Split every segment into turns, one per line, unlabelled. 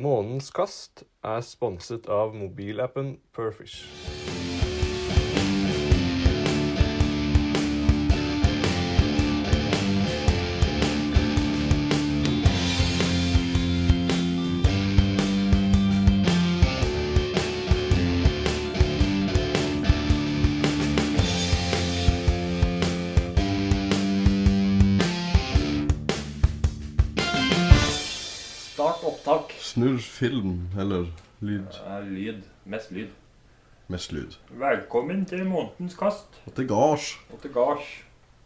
Månens kast er sponset av mobilappen Perfish.
Start opptak.
Snurr film, eller lyd.
lyd. Mest lyd.
Mest lyd.
Velkommen til månedens kast
Og til gards.
og til gards.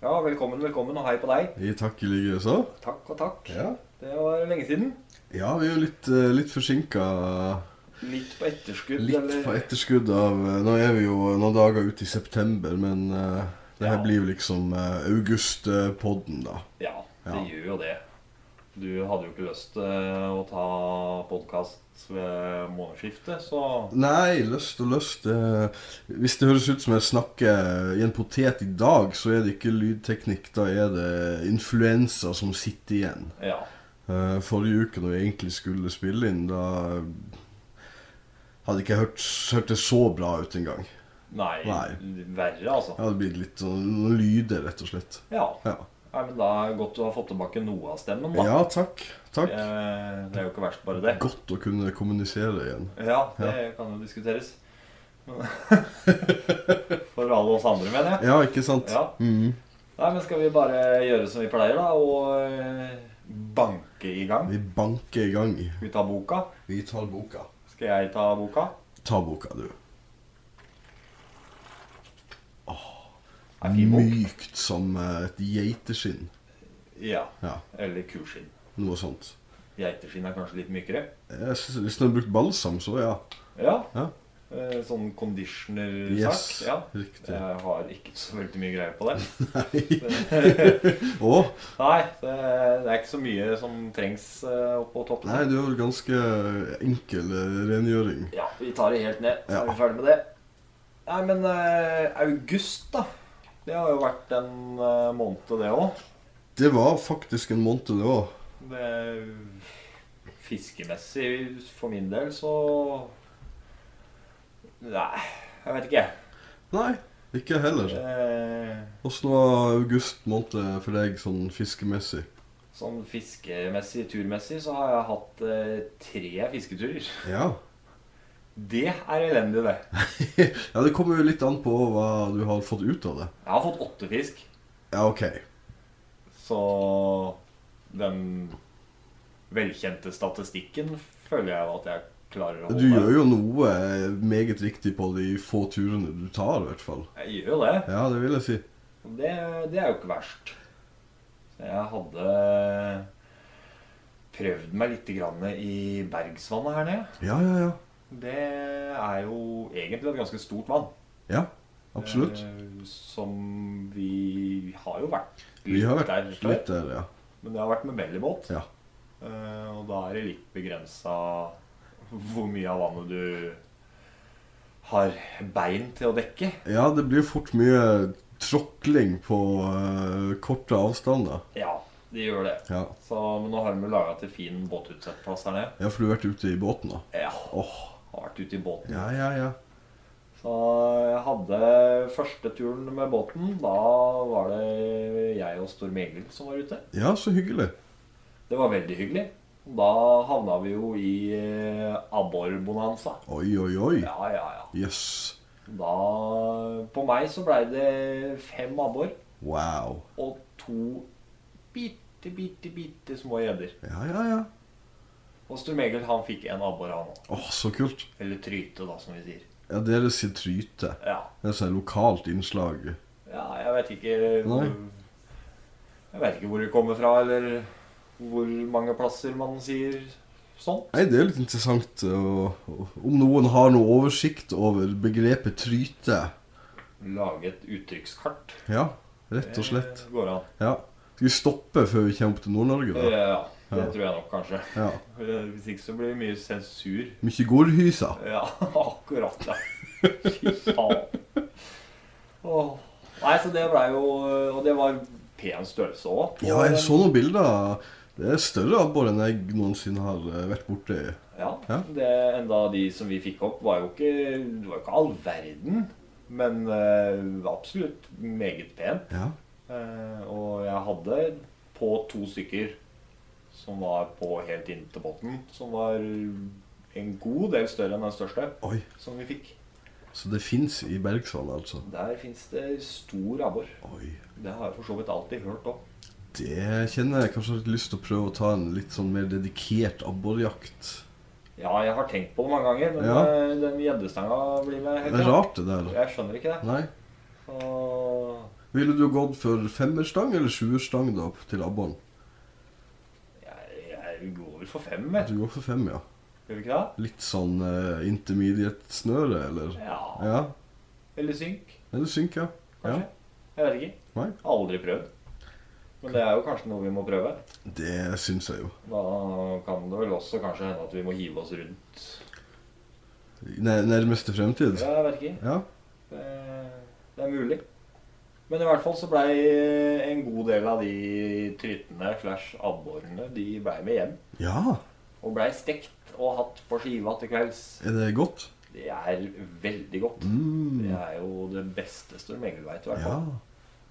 Ja, velkommen, velkommen, og hei på deg.
I takk i like så.
Takk og takk.
Ja.
Det var lenge siden.
ja, vi er jo litt, eh, litt forsinka.
Litt på etterskudd,
Litt på etterskudd av eh, Nå er vi jo noen dager ute i september, men eh, det her
Ja.
blir jo liksom eh, august-podden, da.
Ja, det
Ja.
gjør jo det. Du hadde jo ikke lyst eh, å ta podkast ved månedsskiftet, så
Nei, lyst og lyst eh, Hvis det høres ut som jeg snakker i en potet i dag, så er det ikke lydteknikk. Da er det influensa som sitter igjen.
ja.
Eh, Forrige uke når vi egentlig skulle spille inn, da hadde ikke jeg hørt, hørt det så bra ut engang.
Nei,
Nei.
verre, altså.
Jeg hadde blitt litt sånn noen lyder, rett og slett.
Ja.
Ja,
Nei, men da er det godt du har fått tilbake noe av stemmen, da.
ja takk. Takk.
Eh, Det er jo ikke verst, bare det.
Godt å kunne kommunisere igjen.
Ja, det kan jo diskuteres. Men- For alle oss andre, mener jeg.
Ja, ikke sant?
Ja.
Mhm.
Nei, men Skal vi bare gjøre som vi pleier, da, og eh, banke i gang?
Vi banker i gang.
Skal vi ta boka?
Vi tar boka.
Skal jeg ta boka?
Ta boka, du.
Er fin bok?
Mykt som eh, et geiteskinn.
Ja.
Ja,
Eller kuskinn.
noe sånt.
Geiteskinn er kanskje litt mykere.
Jeg synes, hvis du har brukt balsam, så ja.
Ja.
Ja.
Eh, Sånn conditioner-sak.
Yes,
Ja.
riktig.
Jeg har ikke så veldig mye greier på det.
Og
Nei, det, det er ikke så mye som trengs eh, oppå toppen.
Nei, det var vel ganske enkel eh, rengjøring.
Ja, vi tar det helt ned, så er
Ja.
vi ferdig med det. Nei, men eh, august, da. Det har jo vært en eh, måned, det òg.
Det var faktisk en måned, det òg.
Fiskemessig, for min del, så Nei, jeg vet ikke.
Nei, ikke heller.
Eh,
Åssen var august måned for deg sånn fiskemessig?
sånn fiskemessig, turmessig, så har jeg hatt eh, tre fisketurer.
Ja.
Det er elendig, det.
ja, det kommer jo litt an på hva du har fått ut av det.
Jeg har fått åtte fisk,
Ja, OK.
så den velkjente statistikken føler jeg jo at jeg klarer å
Du gjør jo noe eh, meget riktig på de få turene du tar, i hvert fall.
Jeg gjør jo det.
Ja, det vil jeg si.
Og det. Det er jo ikke verst. Så jeg hadde prøvd meg litt grann i Bergsvannet her nede.
Ja, ja, ja.
Det er jo egentlig et ganske stort vann.
Ja, absolutt.
Eh, Som vi har jo vært
Vi har
der
vært
før.
litt der, ja.
Men det har vært med bellybåt.
Ja.
Eh, Og da er det litt begrensa hvor mye av vannet du har bein til å dekke.
Ja, det blir fort mye tråkling på eh, korte avstander.
Ja, de gjør det.
Ja.
Så, men nå har de laga til fin båtutsettplass her nede.
Ja, for du har vært ute i båten da?
Ja,
Åh,
har vært ute i båten.
ja, ja, ja.
Så jeg hadde første turen med båten. Da var det jeg og Storm Egil som var ute.
Ja, så hyggelig.
Det var veldig hyggelig. Da havna vi jo i eh, abborbonanza.
Oi, oi, oi.
Ja, ja, ja.
Yes.
Da På meg så blei det fem abbor
Wow.
og to bitte, bitte, bitte små gjedder.
Ja, ja, ja.
Og Storm Egil han fikk en abbor, han òg.
Åh, så kult.
Eller tryte, da, som vi sier.
Ja, dere sier tryte.
Ja.
Det er sånn lokalt innslag.
Ja, jeg vet ikke
Nei.
Jeg vet ikke hvor det kommer fra, eller hvor mange plasser man sier sånn.
Nei, det er litt interessant. Og, og, om noen har noe oversikt over begrepet tryte.
Lage et uttrykkskart.
Ja, rett og slett.
Det går an.
Ja. Skal vi stoppe før vi kommer opp til Nord-Norge da?
Ja, det
Ja.
tror jeg nok kanskje. eh,
Ja.
Hvis ikke så blir det mye sensur.
Mykje gorhysa.
Ja, akkurat, ja. Fy faen. Åh. Nei, så det blei jo Og det var pen størrelse òg.
Ja, jeg så noen bilder. Det er større abbor enn jeg noensinne har eh, vært borte i. Ja.
Det, enda de som vi fikk opp, var jo ikke, det var jo ikke all verden. Men eh, absolutt meget pen.
Ja.
Eh, og jeg hadde på to stykker som var på helt inn til botten. Som var en god del større enn den største
Oi.
som vi fikk.
Så det fins i Bergsvann, altså?
Der fins det stor abbor.
Oi.
Det har jeg for så vidt alltid hørt òg.
Det kjenner jeg kanskje litt lyst til å prøve å ta en litt sånn mer dedikert abborjakt.
Ja, jeg har tenkt på det mange ganger, men
Ja.
eh, den gjeddestanga blir meg
Det
helt
er
ja.
rart, det der.
Jeg skjønner ikke det.
Nei.
Og
Ville du gått for femmerstang eller sjuerstang da til abboren?
jeg, jeg går vel for fem, jeg.
Du går for fem, ja.
Gjør vi ikke det?
Litt sånn eh, intermediate-snøre, eller?
Ja.
Ja.
Eller synk,
Eller synk, ja. Ja.
kanskje. Jeg vet ikke.
Nei.
Aldri prøvd. Men det er jo kanskje noe vi må prøve.
Det syns jeg jo.
Da kan det vel også kanskje hende at vi må hive oss rundt.
I nær- nærmeste fremtid?
Ja, Jeg vet ikke.
Ja.
Det, det er mulig. Men i hvert fall så blei en god del av de tryttene slash abborene de blei med hjem.
Ja,
Og blei stekt og hatt på skiva til kvelds.
er det godt?
Det er veldig godt.
Mm.
Det er jo det beste stormengel veit, i hvert
Ja.
fall.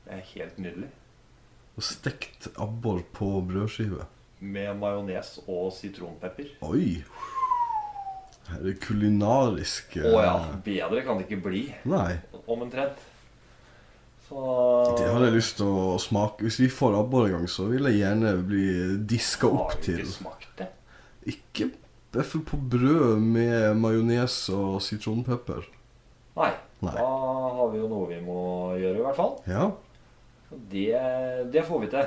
Det er helt nydelig.
Og stekt abbor på brødskive.
Med majones og sitronpepper.
Oi! Her er det kulinarisk eh,
Å ja, bedre kan det ikke bli.
Nei.
Omtrent. Så
Det har jeg lyst til å smake. Hvis vi får abbor en gang, så vil jeg gjerne bli diska opp
Har du
til.
ikke smakt det?
Ikke derfor på brød med majones og sitronpepper.
Nei.
Nei.
Da har vi jo noe vi må gjøre, i hvert fall.
Ja,
Og Det, det får vi til.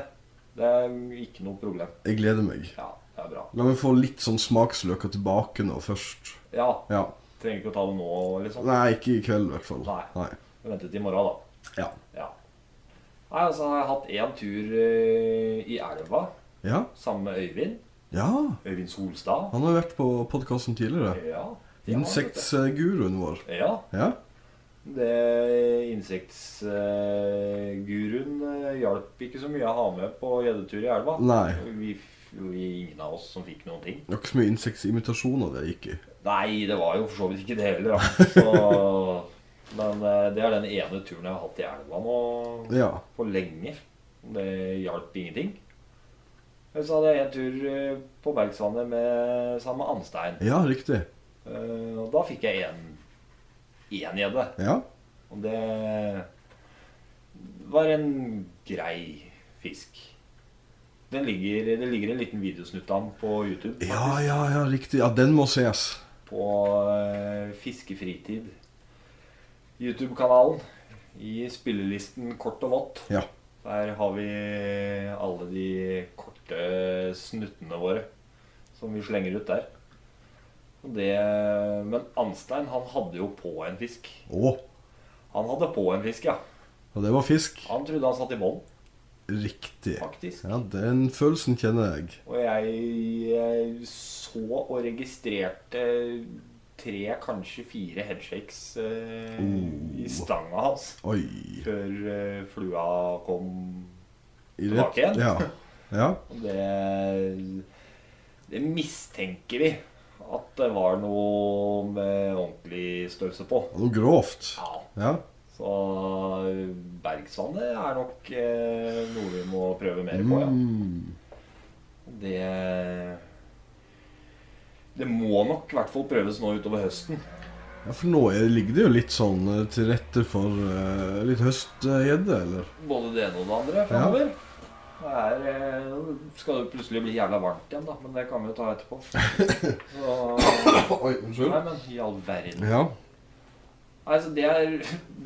Det er ikke noe problem.
jeg gleder meg.
Ja, det er bra.
La meg få litt sånn smaksløker tilbake nå først.
Ja,
Ja.
Trenger ikke å ta det nå, liksom.
Nei, ikke i kveld i hvert fall.
Nei.
Nei.
Vente til i morgen, da.
Ja.
Ja. Nei, altså, jeg har hatt én tur eh, i elva
Ja.
sammen med Øyvind.
ja.
Øyvind Solstad.
Han har vært på podkasten tidligere.
Ja. det har han, vet
Insektguruen vår.
du. Ja.
Ja.
Det insektsguruen hjalp ikke så mye å ha med på gjeddetur i elva.
Nei.
Vi, f- vi, ingen av oss som fikk noen ting.
Det var ikke så mye insektimitasjoner det gikk i.
Nei, det var jo for så vidt ikke det heller, da. Så, men eh, det er den ene turen jeg har hatt i elva nå
Ja.
for lenge. Det hjalp ingenting. Men Så hadde jeg en tur eh, på Bergsvannet med sammen med Anstein.
Ja, riktig.
Eh, Og da fikk jeg én gjedde.
Ja.
Og det var en grei fisk. Den ligger, det ligger en liten videosnutt av den på YouTube. faktisk.
Ja, ja, ja, riktig. Ja, den må ses.
På eh, Fiskefritid. YouTube-kanalen. I spillelisten kort og vått.
Ja.
Der har vi alle de korte snuttene våre som vi slenger ut der. Og det, men Anstein han hadde jo på en fisk.
Å.
Han hadde på en fisk, ja.
Og det var fisk.
Han trodde han satt i bånn,
Riktig.
faktisk.
Ja, den følelsen kjenner jeg.
Og jeg, jeg så og registrerte tre, kanskje fire headshakes eh,
Oh.
i stanga hans
Oi.
før eh, flua kom.
I
Tilbake igjen?
Ja. Ja.
Og det, det mistenker vi at det var noe med ordentlig størrelse på.
Noe grovt.
Ja,
Ja.
Så eh, Bergsvannet er nok eh, noe vi må prøve mer på, ja.
Mm.
Det Det må nok i hvert fall prøves nå utover høsten.
Ja, for nå er, ligger det jo litt sånn eh, til rette for eh, litt høstgjedde, eller?
Både det ene og det andre fremover. Det er, eh, nå skal det plutselig bli jævla varmt igjen, da, men det kan vi jo ta etterpå. Så,
Oi,
nei, men i all verden.
Ja.
Nei, så det er,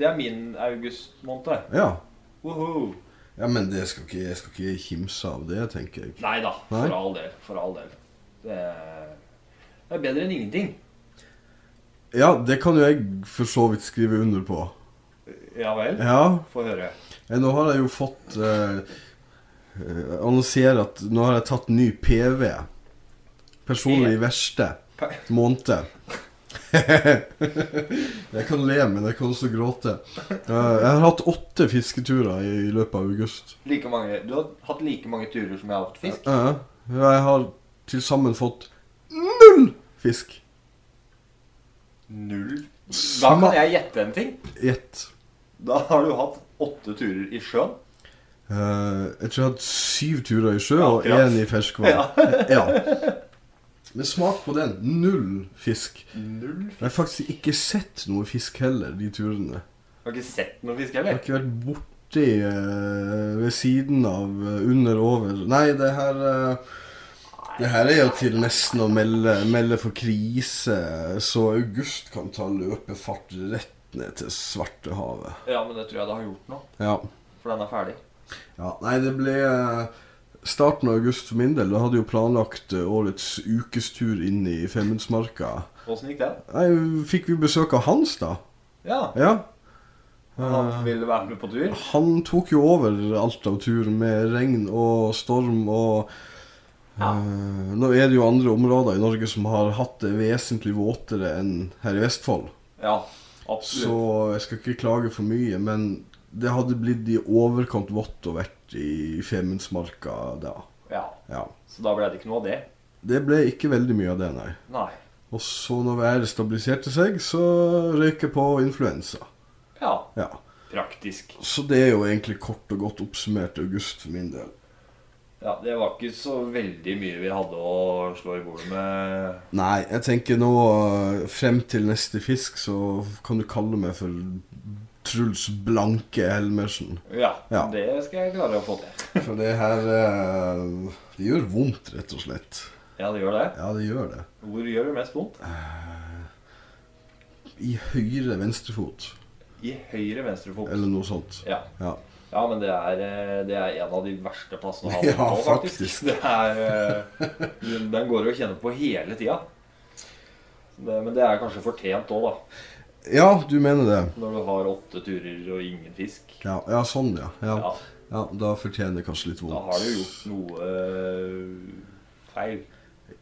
det er min augustmåned.
ja.
Woho!
Ja, men det skal ikke, jeg skal ikke kimse av det, tenker jeg.
Nei da,
Nei.
for all del. For all del. Det er, det er bedre enn ingenting.
Ja, det kan jo jeg for så vidt skrive under på.
Ja vel?
Ja,
Få høre.
eh, nå har jeg jo fått eh, eh, Annonsere at nå har jeg tatt ny PV. Personlig verste
Pe-
måned. jeg kan le, men jeg kan også gråte. Eh, jeg har hatt åtte fisketurer i, i løpet av august. Eh,
Like mange, du har hatt like mange turer som jeg har hatt fisk?
Ja, ja. jeg har til sammen fått null Fisk.
Null. Da kan jeg gjette en ting.
Gjett.
Da har du hatt åtte turer i sjøen.
Eh, jeg tror jeg har hatt syv turer i sjø og
Akkurat.
én i ferskvann. Ja. Men smak på den. Null fisk.
Null.
Jeg har faktisk ikke sett noe fisk heller, de turene.
Jeg har ikke sett noen fisk
Jeg har
heller.
ikke vært borti eh, ved siden av, eh, under, over Nei, det her eh, Det her er jo til nesten å melde, melde for krise, så august kan ta løpefart rett ned til Svartehavet.
Ja, men det tror jeg det har gjort nå.
Ja.
For den er ferdig.
Ja, nei, det ble eh, starten av august for min del. Da hadde jeg jo planlagt eh, årets ukestur inn i Femundsmarka.
Åssen gikk det?
Nei, fikk vi besøk av Hans, da?
Ja.
Ja.
Han
Eh,
ville være med på tur.
han tok jo over alt av tur med regn og storm og
Ja.
eh, Nå er det jo andre områder i Norge som har hatt det vesentlig våtere enn her i Vestfold.
Ja,
Så
absolutt.
jeg skal ikke klage for mye, men det hadde blitt i overkant vått å vært i Femundsmarka da.
Ja.
Ja.
Så da ble det ikke noe av det.
Det ble ikke veldig mye av det, nei.
Nei.
Og så når været stabiliserte seg, så røyk jeg på influensa.
Ja.
Ja.
Praktisk.
Så det er jo egentlig kort og godt oppsummert august for min del.
Ja, Det var ikke så veldig mye vi hadde å slå i bordet med.
Nei, jeg tenker nå øh, frem til neste fisk så kan du kalle meg for Truls Blanke Helmersen.
Ja,
Ja.
det skal jeg klare å få til.
For det her øh, Det gjør vondt, rett og slett.
Ja, det gjør det.
Ja, det gjør det.
Hvor gjør det mest vondt?
I høyre venstre fot,
I høyre venstre fot.
eller noe sånt.
Ja.
Ja.
ja, men det er, eh, det er en av de verste plassene å ha
Ja,
vondt på, faktisk.
faktisk.
Det er, eh, den den går du og kjenner på hele tida. Det, men det er kanskje fortjent òg, da.
ja, du mener det.
Når du har åtte turer og ingen fisk.
Ja, ja sånn, ja. ja.
Ja,
Ja, Da fortjener jeg kanskje litt vondt.
Da har du gjort noe eh, feil.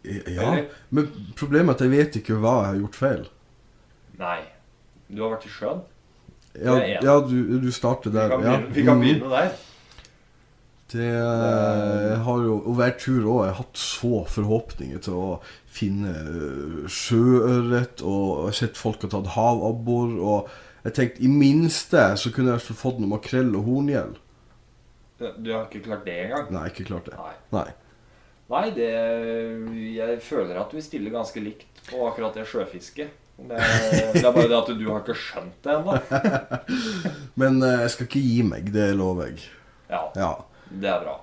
Eh, Ja, men problemet er at jeg vet ikke hva jeg har gjort feil.
Nei. Du har vært i sjøen.
Ja,
Det er-
ja du, du starter
Vi
der.
kan
ja.
begynne, vi kan
Mhm.
begynne der.
Det eh, har jo Og hver tur òg. Jeg har hatt så forhåpninger til å finne eh, sjøørret, og jeg har sett folk har tatt havabbor, og jeg tenkte i minste så kunne jeg i hvert fall fått noe makrell og horngjell.
Du har ikke klart det engang?
Nei, ikke klart det.
Nei.
Nei.
Nei, det Jeg føler at vi stiller ganske likt på akkurat det sjøfisket. Det, det er bare det at du har ikke skjønt det ennå.
Men eh, jeg skal ikke gi meg, det lover jeg.
Ja,
Ja.
det er bra.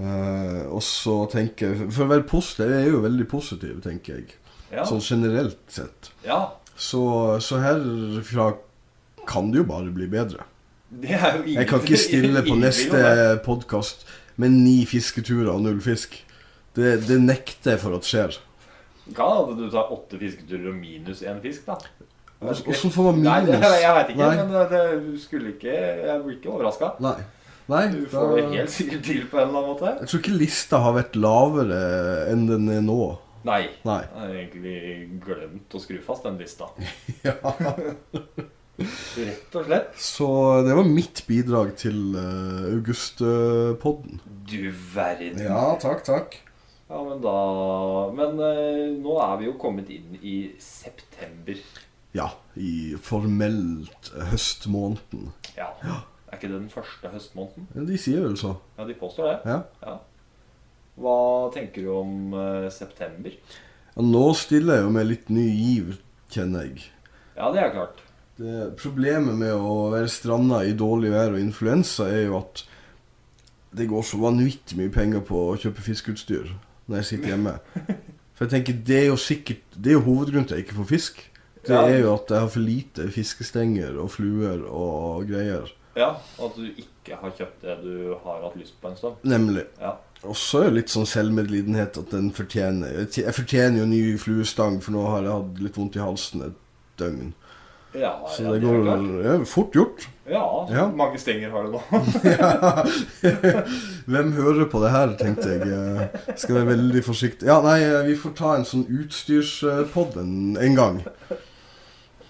Eh, og så tenker jeg For å være positiv, jeg er jo veldig positiv, tenker jeg.
Ja.
Sånn generelt sett.
ja.
Så, så herfra kan det jo bare bli bedre.
Det er jo ingen
Jeg kan ikke stille på
ingen tvil om det.
neste podkast med ni fisketurer og null fisk. Det, det nekter jeg for at skjer.
Hva hadde du tatt åtte fisketurer og minus én fisk, da?
Og og så får man
Nei, det,
minus.
jeg veit ikke.
Nei.
Men det, det, du skulle ikke Jeg blir ikke overraska.
Nei. Nei
Du får det
da,
helt sikkert til på en eller annen måte.
jeg tror ikke lista har vært lavere enn den er nå.
Nei.
Nei.
Jeg har egentlig glemt å skru fast den lista.
Ja.
Rett og slett.
Så det var mitt bidrag til uh, August-podden.
Du verden.
takk, takk.
Ja, men da Men eh, nå er vi jo kommet inn i september.
Ja, i formelt høstmåneden.
Ja. Er ikke det den første høstmåneden?
De sier vel så.
Ja, de påstår det.
Ja.
Ja. Hva tenker du om eh, september?
Ja, Nå stiller jeg jo med litt ny giv, kjenner jeg.
Ja, det er klart.
Det, problemet med å være stranda i dårlig vær og influensa er jo at det går så vanvittig mye penger på å kjøpe fiskeutstyr når jeg sitter hjemme. For jeg tenker, det er jo sikkert Det er jo hovedgrunnen til at jeg ikke får fisk. Det
Ja.
er jo at jeg har for lite fiskestenger og fluer og greier.
Ja, At du ikke har kjøpt det du har hatt lyst på en stund.
Nemlig.
Ja.
Og så er det litt sånn selvmedlidenhet at den fortjener jeg t- Jeg fortjener jo ny fluestang, for nå har jeg hatt litt vondt i halsen et døgn.
Ja,
Så
ja,
det
er
går
klart.
ja, fort gjort.
Ja,
Ja.
mange stenger har du nå.
Ja. Hvem hører på det her, tenkte jeg. Eh, Skal være veldig forsiktig. Ja, nei, eh, vi får ta en sånn utstyrspod en, en gang.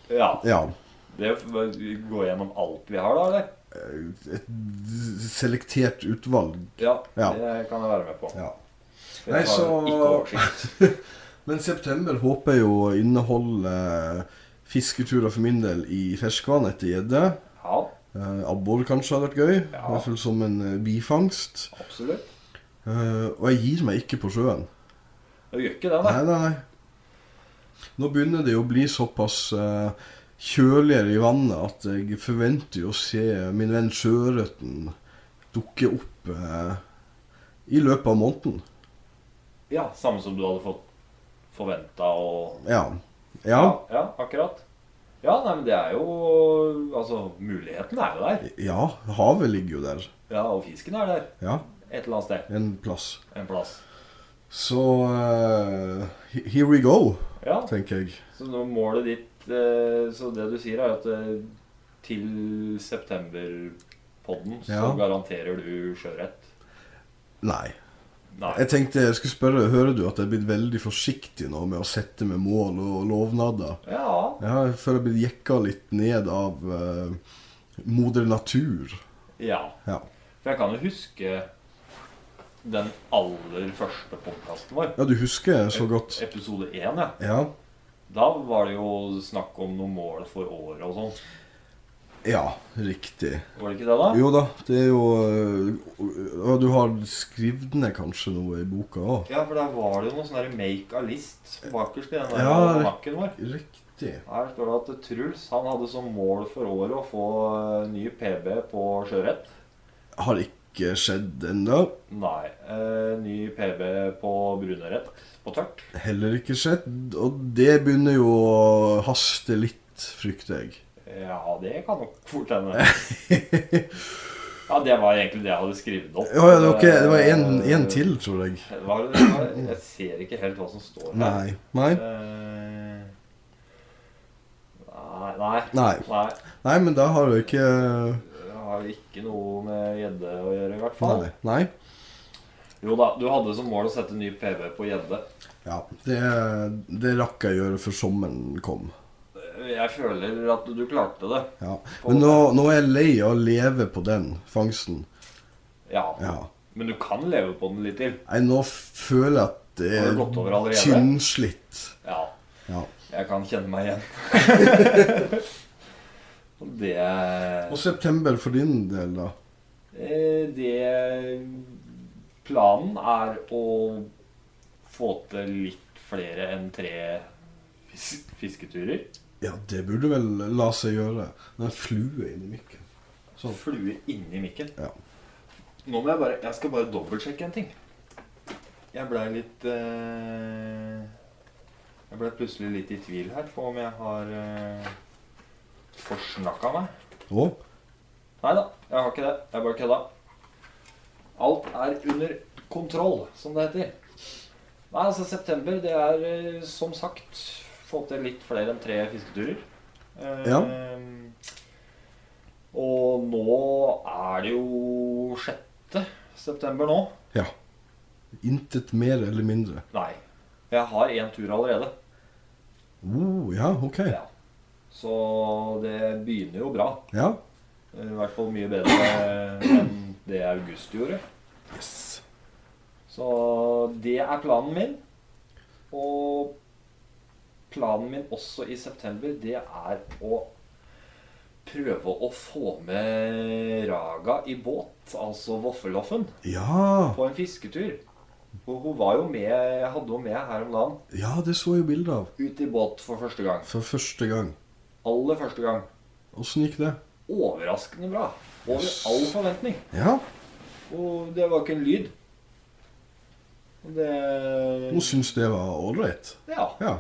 ja.
Ja.
Det vi går gjennom alt vi har, da, eller?
eh, Et selektert utvalg.
Ja,
Ja.
det kan jeg være med på.
Ja.
Jeg
Nei,
har
så-
ikke oversikt.
Men september håper jeg jo å inneholde fisketurer for min del i ferskvann etter gjedde.
Ja,
Eh, Abbor kanskje hadde vært gøy. I
Ja.
hvert fall som en eh, bifangst.
absolutt.
Eh, og jeg gir meg ikke på sjøen.
Du gjør ikke det, nei.
Nei, nei, nei. Nå begynner det jo å bli såpass eh, kjøligere i vannet at jeg forventer jo å se min venn sjøørreten dukke opp eh, i løpet av måneden.
Ja, Samme som du hadde fått forventa og
Ja. Ja.
ja, akkurat. Ja, nei, men det er jo Altså, muligheten er jo der.
Ja, havet ligger jo der.
Ja, og fisken er der.
Ja,
Et eller annet sted.
en plass.
En plass.
Så eh, he- here we go,
Ja,
tenker jeg.
så nå målet ditt eh, Så det du sier, er at eh, til septemberpodden så
Ja.
garanterer du sjøørret.
Nei.
Nei.
Jeg tenkte jeg skulle spørre, hører du at jeg er blitt veldig forsiktig nå med å sette med mål og lovnader?
Ja.
Ja, jeg føler jeg blir jekka litt ned av eh, moder natur.
ja.
Ja.
For jeg kan jo huske den aller første podkasten vår.
ja, du husker så godt.
Episode én, ja.
Ja.
Da var det jo snakk om noe mål for året og sånn.
ja, riktig.
Var det ikke det, da?
Jo da, det er jo eh, Og du har skrevet ned kanskje noe i boka òg?
Ja, for der var det jo noe sånn der make a list bakerst i den der
Ja, det-
almanakken vår.
Riktig.
Her står det at Truls han hadde som mål for året å få eh, ny PB på sjøørret.
Har ikke skjedd ennå.
Nei. Eh, ny PB på brunørret på tørt.
Heller ikke skjedd. Og det begynner jo å haste litt, frykter jeg.
Ja, det kan nok fort hende. Ja, det var egentlig det jeg hadde skrevet opp.
Ja, ja, det var ikke- det var en, en til, tror jeg.
Eh, Hva er det, hva er det? jeg ser ikke helt hva som står her.
Nei. Nei.
Eh, Nei, nei.
Nei.
nei.
Nei, men da har du ikke
Det har jo ikke noe med gjedde å gjøre, i hvert fall.
Nei. Nei.
Jo da, du hadde som mål å sette ny PB på gjedde.
Ja, det, det rakk jeg å gjøre før sommeren kom.
Jeg føler at du klarte det.
Ja. Men nå, nå er jeg lei av å leve på den fangsten.
Ja.
Ja.
Men du kan leve på den litt til.
Nei, nå føler jeg at det
Har det gått over
er
allerede?
tynnslitt.
Ja.
Ja.
Jeg kan kjenne meg igjen. Og det
Og september for din del, da?
eh, Det Planen er å få til litt flere enn tre fis fisketurer.
Ja, det burde vel la seg gjøre. Det er en flue inni mikken.
Sånn flue inni mikken.
Ja.
Nå må jeg bare Jeg skal bare dobbeltsjekke en ting. Jeg blei litt eh, Jeg blei plutselig litt i tvil her på om jeg har eh, forsnakka meg.
Å?
Nei da, jeg har ikke det. Jeg bare kødda. Alt er under kontroll, som det heter. Nei, altså september, det er eh, som sagt få til litt flere enn tre fisketurer. Eh,
Ja.
Og nå er det jo 6. september nå.
Ja. Intet mer eller mindre.
Nei. Jeg har én tur allerede.
Oh, ja, ok.
Ja. Så det begynner jo bra.
Ja.
I hvert fall mye bedre enn det august gjorde.
Yes.
Så det er planen min. Og planen min også i september, det er å prøve å få med Raga i båt, altså Voffeloffen,
Ja.
på en fisketur. Og hun var jo med, jeg hadde henne med her om dagen,
ja, det så jeg bilde av.
ut i båt for første gang.
For første gang.
Aller første gang.
Åssen gikk det?
Overraskende bra. Over all forventning.
Ja.
Og det var ikke en lyd. Og
Hun
Det
syns det var ålreit.
Ja.
Ja.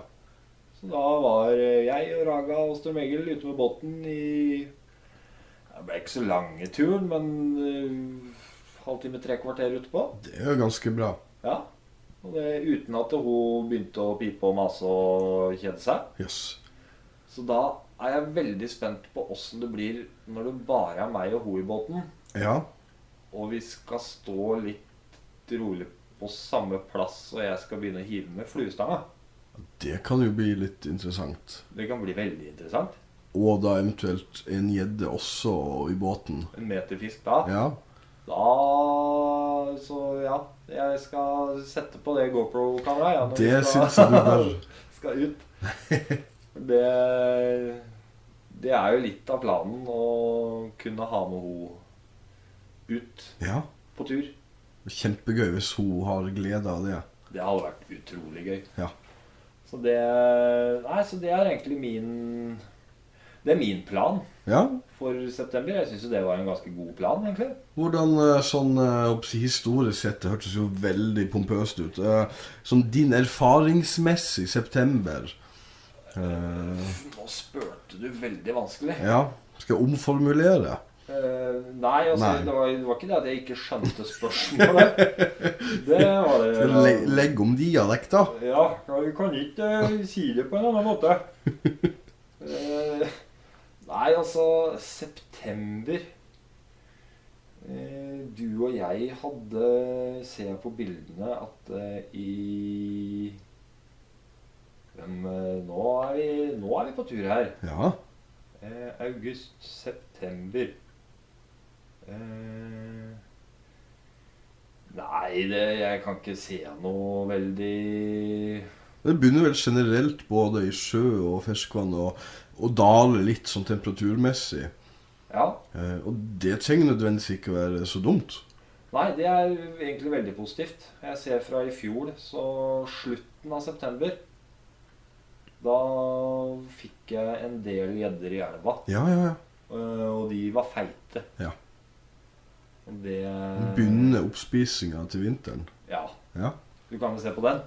Så da var eh, jeg og Raga og Storm Egil ute med båten i Det ble ikke så lange turen, men eh, halvtime, tre kvarter utpå.
Det er jo ganske bra.
Ja. Og det, uten at hun begynte å pipe og mase og kjede seg.
Jøss.
Så da er jeg veldig spent på åssen det blir når det bare er meg og hun i båten,
Ja.
og vi skal stå litt rolig på samme plass, og jeg skal begynne å hive med fluestanga.
Det kan jo bli litt interessant.
Det kan bli veldig interessant.
Og da eventuelt en gjedde også i båten.
En meterfisk da.
Ja.
Da så ja, jeg skal sette på det GoPro-kameraet. Ja, når vi
Det
skal-
syns jeg du bør.
skal ut. Det, det er jo litt av planen å kunne ha med henne ut
Ja.
på tur.
Kjempegøy hvis hun har glede av det.
Det hadde vært utrolig gøy.
Ja.
Så det Nei, så det er egentlig min Det er min plan
Ja.
for september. Jeg syns jo det var en ganske god plan, egentlig.
Hvordan eh, sånn eh, oppsi- historisk sett Det hørtes jo veldig pompøst ut. Eh, Sånn din erfaringsmessig september eh,
Nå spurte du veldig vanskelig.
Ja. Skal jeg omformulere?
Eh, nei, altså,
Nei.
Det, var, det var ikke det at jeg ikke skjønte spørsmålet. Det var det.
Skal jeg le- legge om dialekta?
Ja, ja, vi kan ikke eh, si det på en annen måte. Eh, nei, altså September Eh, Du og jeg hadde, ser jeg på bildene, at eh, i Hvem, eh, nå, er vi, nå er vi på tur her.
Ja.
Eh, august, september eh, Nei, det, jeg kan ikke se noe veldig
Det begynner vel generelt både i sjø og ferskvann og, og dale litt sånn temperaturmessig.
Ja.
Eh, og det trenger nødvendigvis ikke være så dumt.
Nei, det er egentlig veldig positivt. Jeg ser fra i fjor, så slutten av september Da fikk jeg en del gjedder i elva,
Ja, ja, ja.
eh, og de var feite.
Ja.
Og Det
Begynne oppspisinga til vinteren.
Ja.
Ja.
Du kan jo se på den,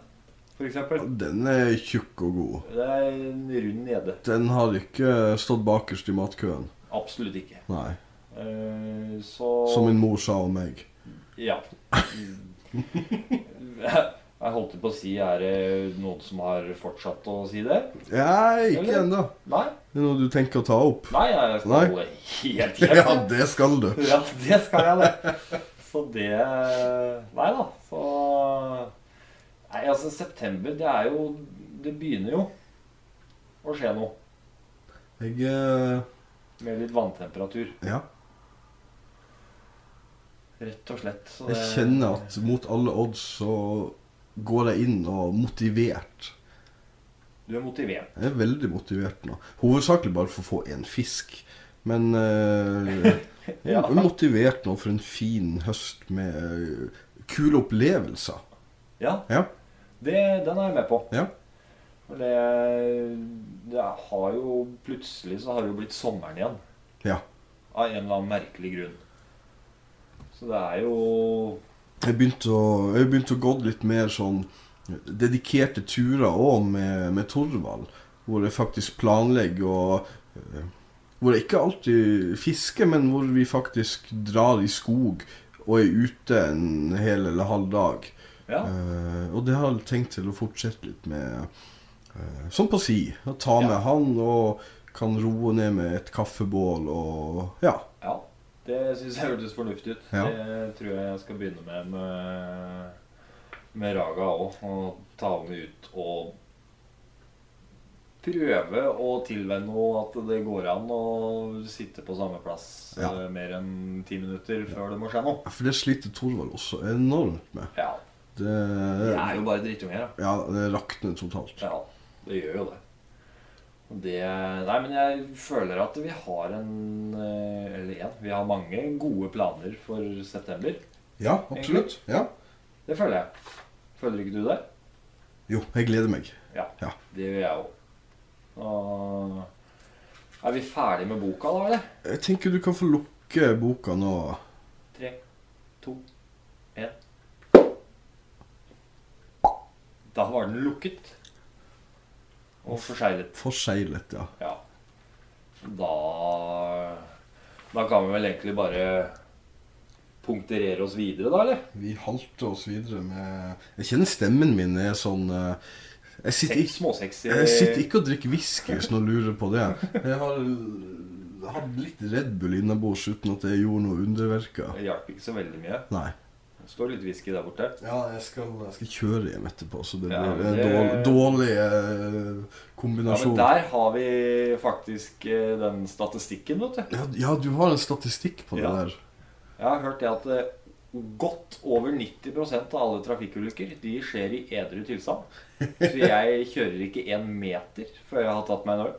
for eksempel.
Den er tjukk og god.
Det er en rund gjedde.
Den har ikke stått bakerst i matkøen.
Absolutt ikke.
Nei.
Eh, Så
Som min mor sa om meg.
Ja. Jeg holdt på å si Er det noen som har fortsatt å si det?
Ja, ikke ennå.
Nei?
Det er noe du tenker å ta opp?
Nei, jeg skal
Nei.
holde helt kjeft.
Ja, det skal du.
Ja, det skal jeg det. Så det Nei da. Så Nei, altså, september, det er jo Det begynner jo å skje noe.
Jeg eh,
Med litt vanntemperatur,
Ja.
rett og slett. Så
Jeg
det-
kjenner at mot alle odds så går jeg inn og motivert.
Du er motivert.
Jeg er veldig motivert nå. Hovedsakelig bare for å få én fisk. Men eh, jeg
Ja.
er motivert nå for en fin høst med eh, kule opplevelser.
Ja.
Ja.
Det, den er jeg med på.
Ja.
For det, det har jo Plutselig så har det jo blitt sommeren igjen.
Ja.
Av en eller annen merkelig grunn. Så det er jo
Jeg begynte å, jeg begynte å gå litt mer sånn dedikerte turer òg med, med Torvald. Hvor jeg faktisk planlegger og eh, Hvor jeg ikke alltid fisker, men hvor vi faktisk drar i skog og er ute en hel eller halv dag.
Ja.
Eh, og det har jeg tenkt til å fortsette litt med, eh, sånn på si. Å ta
Ja.
med han og kan roe ned med et kaffebål og ja.
ja det syns jeg hørtes fornuftig ut.
Ja.
Det tror jeg jeg skal begynne med med, med Raga òg. Og ta henne ut og prøve å tilvenne henne at det går an å sitte på samme plass
Ja.
eh, mer enn ti minutter før det må skje noe.
For det sliter Thorvald også enormt med.
Ja.
Det,
Det er jo bare drittunger, da.
Ja, det rakner totalt.
Ja, det gjør jo det. Og det Nei, men jeg føler at vi har en eh, Eller en, Vi har mange gode planer for september.
Ja, absolutt. Ja.
Det føler jeg. Føler ikke du det?
Jo, jeg gleder meg.
Ja.
Ja.
Det gjør jeg òg. Og Er vi ferdig med boka da, eller?
Jeg tenker du kan få lukke boka nå.
Tre, to, én. Da var den lukket. Og forseglet.
Forseglet, ja.
Ja. Da Da kan vi vel egentlig bare punkterere oss videre, da, eller?
Vi halter oss videre med Jeg kjenner stemmen min er sånn eh, Jeg sitter
Seks
ikke
småsexy
jeg sitter ikke og drikker whisky hvis noen lurer på det. Jeg har eh, hatt litt Red Bull innabords uten at jeg gjorde noe underverker.
Det hjalp ikke så veldig mye.
Nei.
Det står litt whisky der borte.
Ja, jeg skal, jeg skal kjøre hjem etterpå, så det
Ja,
blir en
det-
dårlig, dårlig eh,
Ja, men
kombinasjon.
der har vi faktisk eh, den statistikken, vet du.
Ja, ja, du har en statistikk på det
Ja.
der.
Jeg har hørt det at eh, godt over 90 av alle trafikkulykker de skjer i edru tilstand. Så jeg kjører ikke én meter før jeg har tatt meg en øl.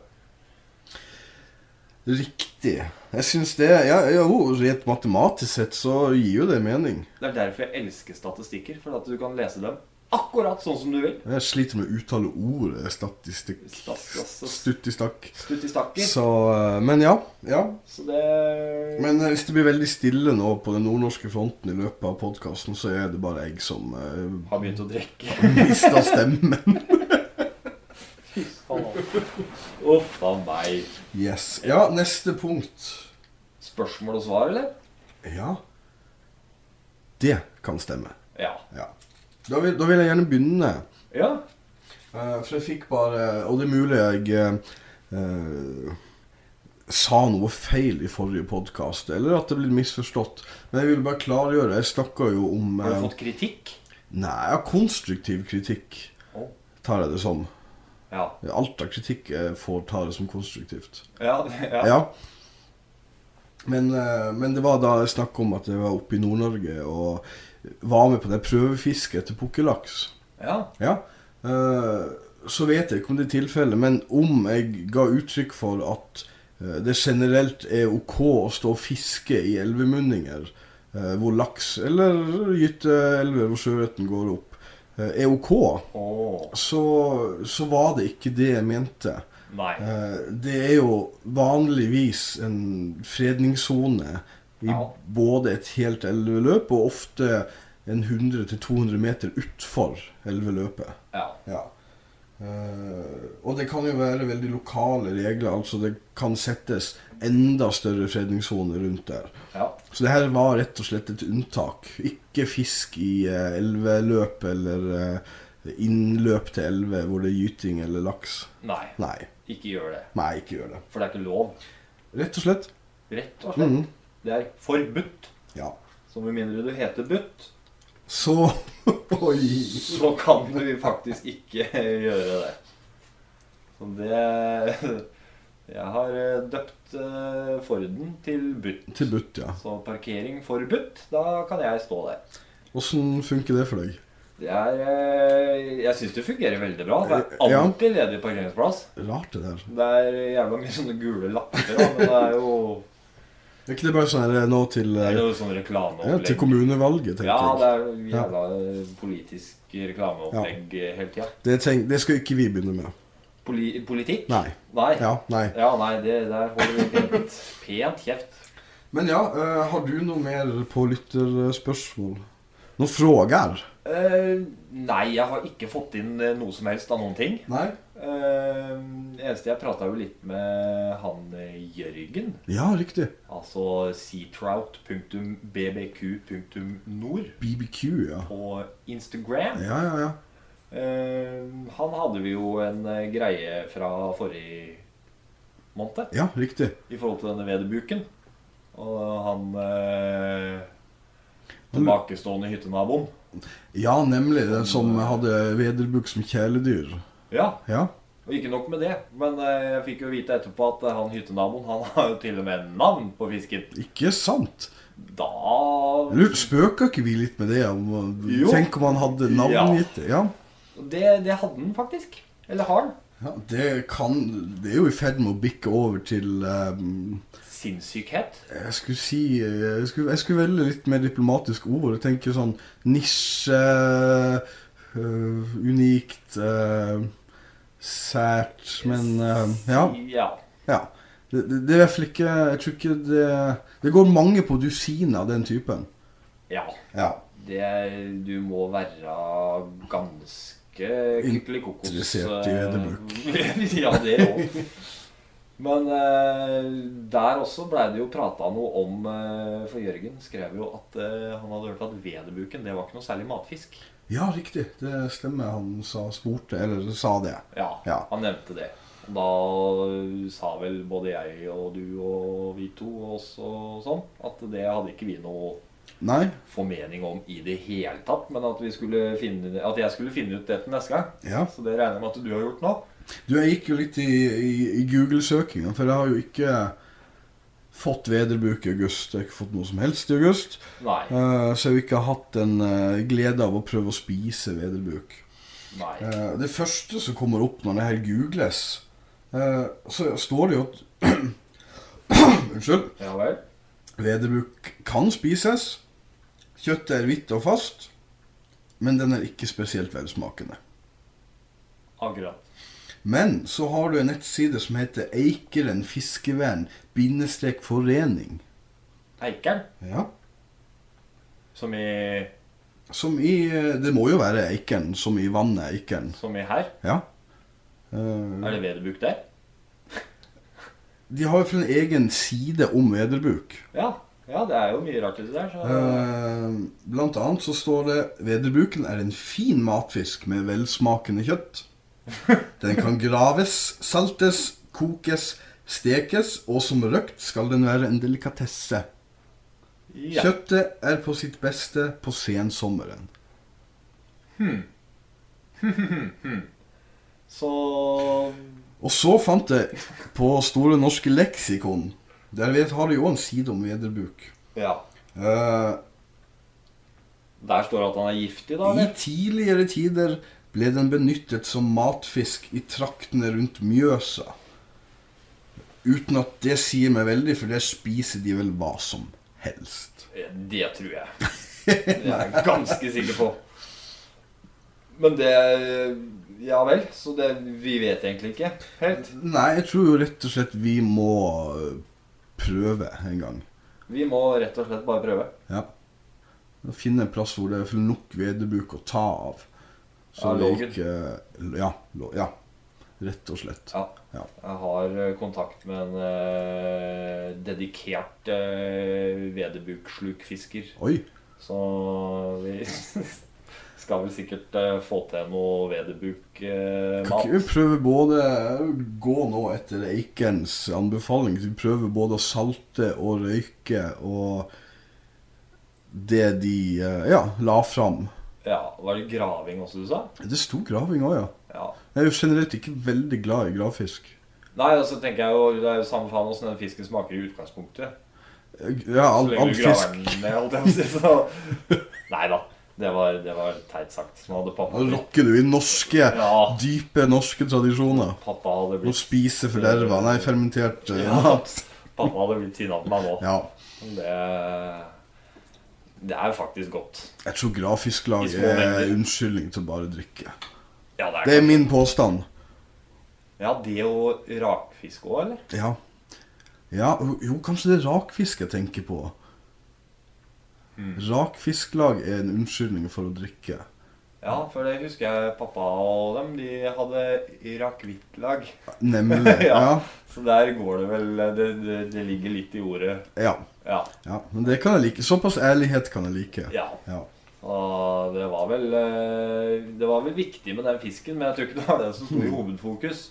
Riktig. Jeg syns det ja, ja, jo, Rent matematisk sett så gir jo det mening.
Det er derfor jeg elsker statistikker, for at du kan lese dem akkurat sånn som du vil.
Jeg sliter med å uttale ordet statistikk.
Stas- stas-
Stuttistakk.
Stutt i stakker.
Så eh, Men ja. ja.
Så det
Men eh, hvis det blir veldig stille nå på den nordnorske fronten i løpet av podkasten, så er det bare jeg som eh,
har begynt å drikke.
mister stemmen.
Uff a meg.
Yes. Ja, neste punkt.
Spørsmål og svar, eller?
Ja. Det kan stemme.
Ja.
Ja. Da vil, da vil jeg gjerne begynne.
Ja.
Eh, for jeg fikk bare Og det er mulig jeg eh, eh, sa noe feil i forrige podkast, eller at det ble misforstått. Men jeg vil bare klargjøre. Jeg snakka jo om
Har du
eh,
fått kritikk?
Nei, ja, konstruktiv kritikk,
Å.
tar jeg det sånn? som.
Ja.
Alt av kritikk jeg får, tar jeg som konstruktivt.
Ja.
Ja.
ja.
Men, eh, men det var da jeg snakka om at jeg var oppe i Nord-Norge og var med på det prøvefisket etter pukkellaks.
ja.
Ja. eh, så vet jeg ikke om det er tilfellet, men om jeg ga uttrykk for at eh, det generelt er ok å stå og fiske i elvemunninger eh, hvor laks eller gyteelver hvor sjøørreten går opp, eh, er ok,
Å.
så, så var det ikke det jeg mente.
Nei.
Eh, Det er jo vanligvis en fredningssone i
Ja.
både et helt elveløp og ofte en 100-200 meter utfor elveløpet.
Ja.
Ja. Eh, og det kan jo være veldig lokale regler, altså det kan settes enda større fredningssoner rundt der.
Ja.
Så det her var rett og slett et unntak. Ikke fisk i eh, elveløp eller eh, innløp til elver hvor det er gyting eller laks.
Nei.
Nei.
Ikke gjør det.
Nei, ikke gjør det.
For det er ikke lov.
Rett og slett.
Rett og slett.
Mhm.
Det er forbudt.
Ja.
Så med mindre du heter Butt,
Så Oi.
så kan du faktisk ikke gjøre det. Så det Jeg har eh, døpt eh, Forden til Butt.
Til butt, ja.
Så parkering forbudt, da kan jeg stå der.
Åssen funker det for deg?
Det er eh, Jeg syns det fungerer veldig bra. Det er
Ja.
alltid ledig parkeringsplass.
Rart, det der.
Det er jævla mye sånne gule lapper, da, men det er jo
Er ikke det bare sånn her nå til,
det er
eh,
jo sånn
ja, til
reklameopplegg.
kommunevalget, tenker
Ja, det
jeg.
er jo jævla eh, politisk reklameopplegg eh, hele tida.
Det, tenk, det skal ikke vi begynne med.
Poli politikk?
Nei.
Nei.
Ja, nei.
Ja, nei, det der holder vi pent, pent kjeft.
Men ja, eh, har du noe mer på lytterspørsmål? Noen frågor?
Eh, nei, jeg har ikke fått inn eh, noe som helst av noen ting.
Nei?
Eh, eneste jeg prata jo litt med han eh, Jørgen,
Ja, riktig.
altså seatrout.bbq.nord
BBQ, ja.
på Instagram.
Ja, ja, ja.
Eh, han hadde vi jo en eh, greie fra forrige måned
Ja, riktig.
i forhold til denne vederbuken. Og han eh,
Han-
tilbakestående hyttenaboen.
Ja, nemlig. Den som hadde vederbuk som kjæledyr.
Ja,
Ja.
Og ikke nok med det, men eh, jeg fikk jo vite etterpå at eh, han hyttenaboen han har jo til og med navn på fisken.
Ikke sant?
Da
Eller Spøka ikke vi litt med det? Om,
Jo.
tenk om han hadde navngitt det? Ja.
det, det hadde han faktisk. Eller har han.
ja. Det kan Det er jo i ferd med å bikke over til ehm,
Sinnssykhet.
Jeg skulle si eh, jeg skulle, jeg skulle velge litt mer diplomatisk ord. Jeg tenker sånn nisje eh, Unikt eh, Sært Men eh, ja.
ja.
ja. Det, det, det er i hvert fall ikke Jeg tror ikke det Det går mange på dusiner av den typen.
Ja.
Ja.
Det er- Du må være ganske kykelikokos
Interessert i
vederbruk. ja, det òg. Men eh, der også blei det jo prata noe om eh, For Jørgen skrev jo at eh, han hadde hørt at vederbuken det var ikke noe særlig matfisk.
Ja, riktig. Det stemmer. Han sa spurte, eller sa det.
Ja,
Ja.
han nevnte det. Og Da sa vel både jeg og du og vi to og også sånn at det hadde ikke vi noe
Nei?
formening om i det hele tatt, men at, vi skulle finne, at jeg skulle finne ut det til neste gang.
Ja.
Så det regner jeg med at du har gjort nå.
Du, jeg gikk jo litt i, i, i Google-søkinga, for jeg har jo ikke fått vederbruk i august. Jeg har ikke fått noe som helst i august.
Nei.
Eh, så jeg har ikke hatt en eh, glede av å prøve å spise vederbruk.
Nei.
Eh, det første som kommer opp når det her googles, eh, så står det jo at Unnskyld.
Ja vel.
Vederbruk kan spises. Kjøttet er hvitt og fast, men den er ikke spesielt velsmakende.
Akkurat.
Men så har du en nettside som heter Eikeren fiskevern bindestrek forening.
Eikeren,
Ja.
som i,
Som i eh, Det må jo være Eikeren, som i vannet Eikeren.
som i her.
Ja.
Er
Eh,
det vederbruk der?
De har jo for en egen side om vederbruk.
Ja. ja, det er jo mye rart i det der. Så.
Eh, Blant annet så står det Vederbruken er en fin matfisk med velsmakende kjøtt. Den kan graves, saltes, kokes, stekes, og som røkt skal den være en delikatesse.
Ja.
Kjøttet er på sitt beste på sensommeren.
Så
Og så fant jeg på Store norske leksikon Der vet, har de jo en side om vederbruk.
Ja.
Eh,
Der står det at han er giftig, da?
I
Eller?
tidligere tider ble den benyttet som matfisk i traktene rundt Mjøsa. Uten at det sier meg veldig, for der spiser de vel hva som helst.
Det tror jeg. Det er jeg ganske sikker på. Men det Ja vel. Så det Vi vet egentlig ikke helt.
Nei, jeg tror jo rett og slett vi må øh, prøve en gang.
Vi må rett og slett bare prøve.
Ja. Finne en plass hvor det er nok vederbruk å ta av. Så
Ja,
det
lågen.
ikke ja, lå- ja. Rett og slett.
Ja.
Ja.
Jeg har eh, kontakt med en eh, dedikert uh, vederbukslukfisker.
Oi.
Så vi skal vel sikkert eh, få til noe eh,
Kan ikke
vederbuk-mat.
vi prøve både Gå nå etter Eikerens anbefaling. Vi prøver både å salte og røyke og det de eh, ja, la fram.
ja, var det graving også, du sa?
Det sto graving òg, ja.
Ja.
Jeg er jo generelt ikke veldig glad i gravfisk.
Nei, og så tenker jeg jo Det er jo samme faen åssen den fisken smaker i utgangspunktet. Så
Ja, all,
lenge
all
du graver
fisk.
den ned, holdt jeg på å si. Så Nei da. Det var, det var teit sagt. Nå hadde pappa
Da rocker du i norske,
Ja.
dype norske tradisjoner.
Pappa hadde
Å
blitt
spise forderva, nei, fermentert eh,
Ja.
mat.
Pappa hadde blitt sinna på meg nå.
Ja.
Det Det er jo faktisk godt.
Jeg tror
I
gravfisklag
små
er
mengder.
unnskyldning til å bare drikke.
Ja, det er,
Det er min påstand.
ja, det og rakfisk òg, eller?
Ja. ja jo, jo, kanskje det er rakfisk jeg tenker på.
Mm.
Rakfisklag er en unnskyldning for å drikke.
Ja, for det husker jeg pappa og dem. De hadde rakvittlag.
Nemlig. ja.
Ja. Så der går det vel Det, det, det ligger litt i ordet.
Ja,
Ja.
ja. Men det kan jeg like. Såpass ærlighet kan jeg like.
ja.
Ja.
Og det var vel eh, Det var vel viktig med den fisken, men jeg tror ikke det var den som
Mm.
sto i hovedfokus.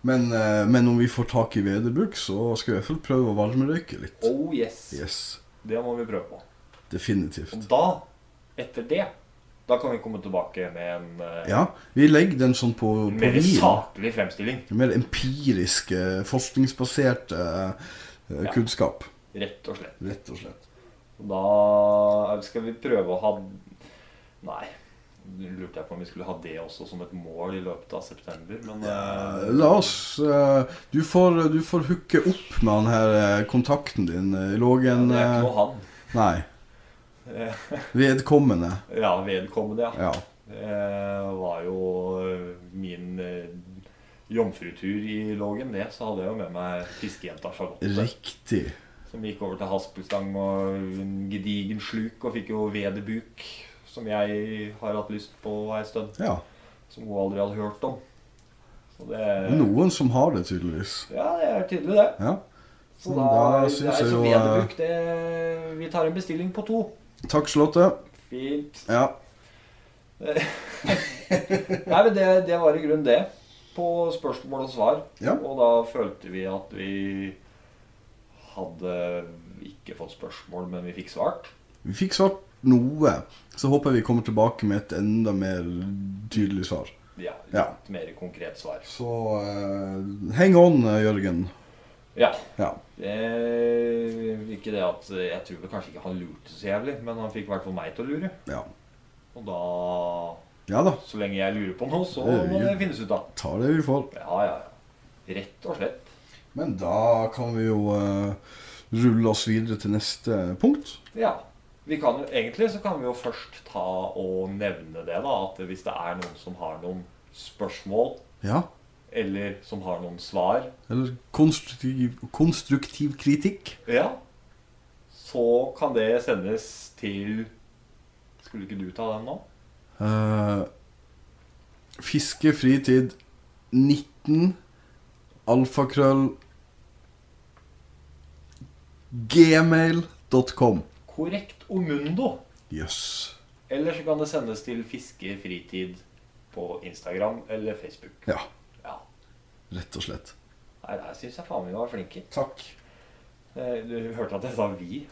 Men, eh, men om vi får tak i vederbruk, så skal vi i hvert fall prøve å varmerøyke litt.
Oh yes.
Yes.
Det må vi prøve på.
Definitivt.
Og da, etter det, da kan vi komme tilbake med en eh,
Ja, vi legger den sånn på, på
mer
vin.
saklig fremstilling.
Mer empirisk, eh, forskningsbasert eh, eh,
Ja.
kunnskap.
Rett og slett.
Rett og slett.
Da skal vi prøve å ha Nei. Nå lurte jeg på om vi skulle ha det også som et mål i løpet av september, men eh,
Eh, La oss eh, Du får, du får hooke opp med han her eh, kontakten din. eh,
ja,
Lågen
Det er
eh,
ikke noe han.
Nei.
Eh,
Vedkommende.
Ja, vedkommende, ja.
Ja.
Det var jo eh, min eh, jomfrutur i Lågen, det. Så hadde jeg jo med meg fiskejenta Charlotte.
Riktig.
Som gikk over til haspelstang og en gedigen sluk, og fikk jo vedebuk. Som jeg har hatt lyst på ei stund.
Ja.
Som hun aldri hadde hørt om. Så det
Noen som har det, tydeligvis.
Ja, det er tydelig, det.
Ja.
Så
Men
da,
da
det
synes
er
jeg
så
jo, eh,
vedebuk, det Vi tar en bestilling på to.
Takk, Charlotte.
Fint.
Ja.
Nei, men det, det var i grunnen det. På spørsmål og svar.
Ja.
Og da følte vi at vi hadde ikke fått spørsmål, men vi fikk svart.
Vi fikk svart noe. Så håper jeg vi kommer tilbake med et enda mer tydelig svar.
Ja, litt
Ja.
mer konkret svar.
Så eh, hang on, eh, Jørgen.
Ja.
Ja.
Det, ikke det at Jeg tror vel kanskje ikke han lurte så jævlig, men han fikk i hvert fall meg til å lure.
Ja,
Og da
ja da.
Så lenge jeg lurer på noe, så
Det er
må
jo-
det finnes ut av.
Tar det vi får.
Ja, ja, ja. Rett og slett.
Men da kan vi jo eh, rulle oss videre til neste punkt.
Ja. Vi kan jo, egentlig så kan vi jo først ta og nevne det, da. At hvis det er noen som har noen spørsmål,
Ja.
eller som har noen svar,
Eller konstruktiv, konstruktiv kritikk.
ja, så kan det sendes til Skulle ikke du ta den nå?
Eh, fiskefritid 19 alfakrøll gmail.com.
Korrekt omundo.
Jøss. Yes.
Eller så kan det sendes til Fiskefritid på Instagram eller Facebook.
Ja,
Ja.
rett og slett.
Nei, der syns jeg faen meg vi var flinke.
Takk.
Eh, Du hørte at jeg sa 'vi'.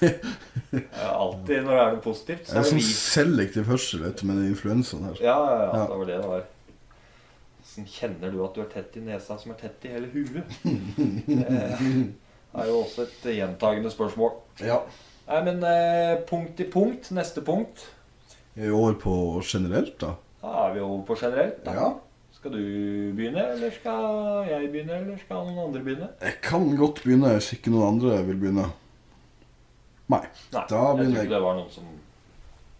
Eh, Alltid når det er noe positivt,
Jeg
så
er
er det
sånn
'vi'.
selektiv hørsel vet du, med den influensaen her.
Ja, ja, ja,
Ja.
det var det det var. Sånn kjenner du at du er tett i nesa som er tett i hele huet? Det er jo også et gjentagende spørsmål.
Ja.
Nei, men eh, punkt i punkt, neste punkt.
Er vi over på generelt, da?
Da er vi over på generelt. Da.
Ja.
Skal du begynne, eller skal jeg begynne, eller skal noen andre begynne?
Jeg kan godt begynne hvis ikke noen andre vil begynne. Nei.
Nei,
Da
jeg
begynner
tror
jeg.
ikke det var noen som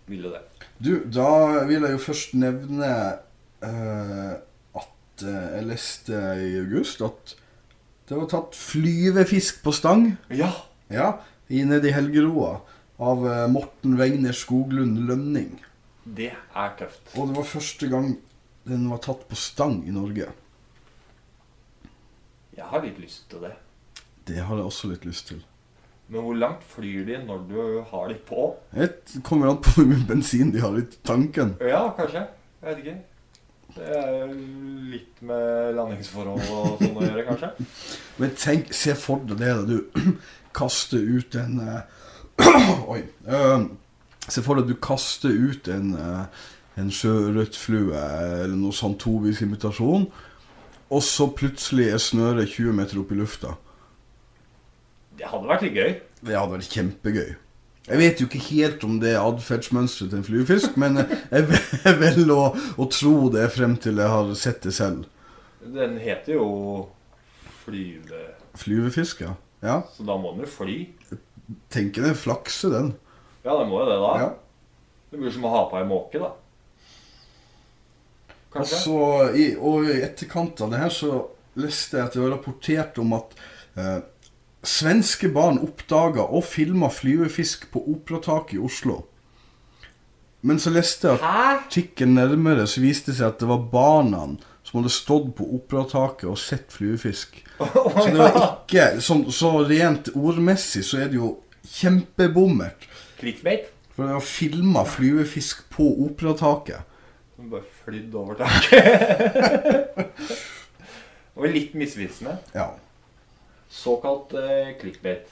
ville det.
Du, da vil jeg jo først nevne eh, at eh, jeg leste i august at det var tatt flyvefisk på stang
Ja!
ja, i- nede i Helgeroa av eh, Morten Wegner Skoglund Lønning.
Det er tøft.
Og det var første gang den var tatt på stang i Norge.
Jeg har litt lyst til det.
Det har jeg også litt lyst til.
Men hvor langt flyr de når du har de på?
Det kommer an på hvor mye bensin de har i tanken.
Ja, kanskje. Jeg vet ikke. Det er jo litt med landingsforhold og sånn å gjøre, kanskje.
Men tenk, se for deg det da du kaster ut en eh, Oi. eh, se for deg at du kaster ut en, eh, en sjørøttflue eller noe sånn tovis imitasjon, og så plutselig er snøret 20 meter opp i lufta.
Det hadde vært litt gøy.
Det hadde vært kjempegøy. Jeg vet jo ikke helt om det er atferdsmønsteret til en fluefisk, men eh, jeg vel- jeg velger å, å tro det frem til jeg har sett det selv.
Den heter jo flyve...
Fluefisk, ja. ja.
Så da må den jo fly.
Tenk den flakse, den.
Ja, den må jo det, da.
Ja.
Det blir som å ha på ei måke, da.
Og
Kanskje?
så i, og i etterkant av det her så leste jeg at det var rapportert om at eh, svenske barn oppdaga og filma flyvefisk på operataket i Oslo. Men så leste jeg at
Hæ?
artikkelen nærmere så viste det seg at det var barna som hadde stått på operataket og sett fluefisk. Så det var ikke sånn- Så rent ordmessig så er det jo kjempebommert.
Clickbait?
For det var filma fluefisk på operataket.
Som bare flydd over taket. Og litt misvisende.
Ja.
Såkalt eh, clickbait.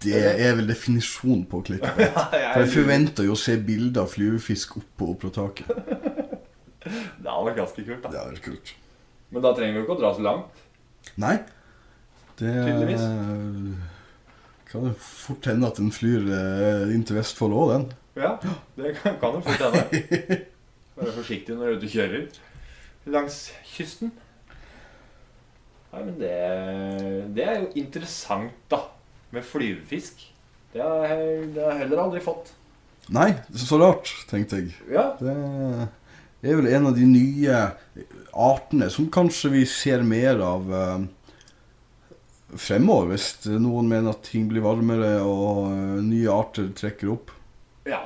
Det er vel definisjonen på klikkbait. For jeg forventer jo å se bilder av fluefisk oppå operataket.
Det hadde vært ganske kult,
Det
da.
er vel kult.
Men da trenger vi jo ikke å dra så langt.
Nei. Det
Tydeligvis.
kan jo fort hende at den flyr eh, inn til Vestfold òg, den.
Ja, det kan kan jo fort hende. Være forsiktig når du er ute og kjører langs kysten. Nei, men det, det er jo interessant, da. Med flyvefisk. Det har jeg det har jeg heller aldri fått.
Nei, så rart, tenkte jeg.
Ja,
Det er vel en av de nye artene som kanskje vi ser mer av eh, fremover, hvis noen mener at ting blir varmere og eh, nye arter trekker opp.
ja.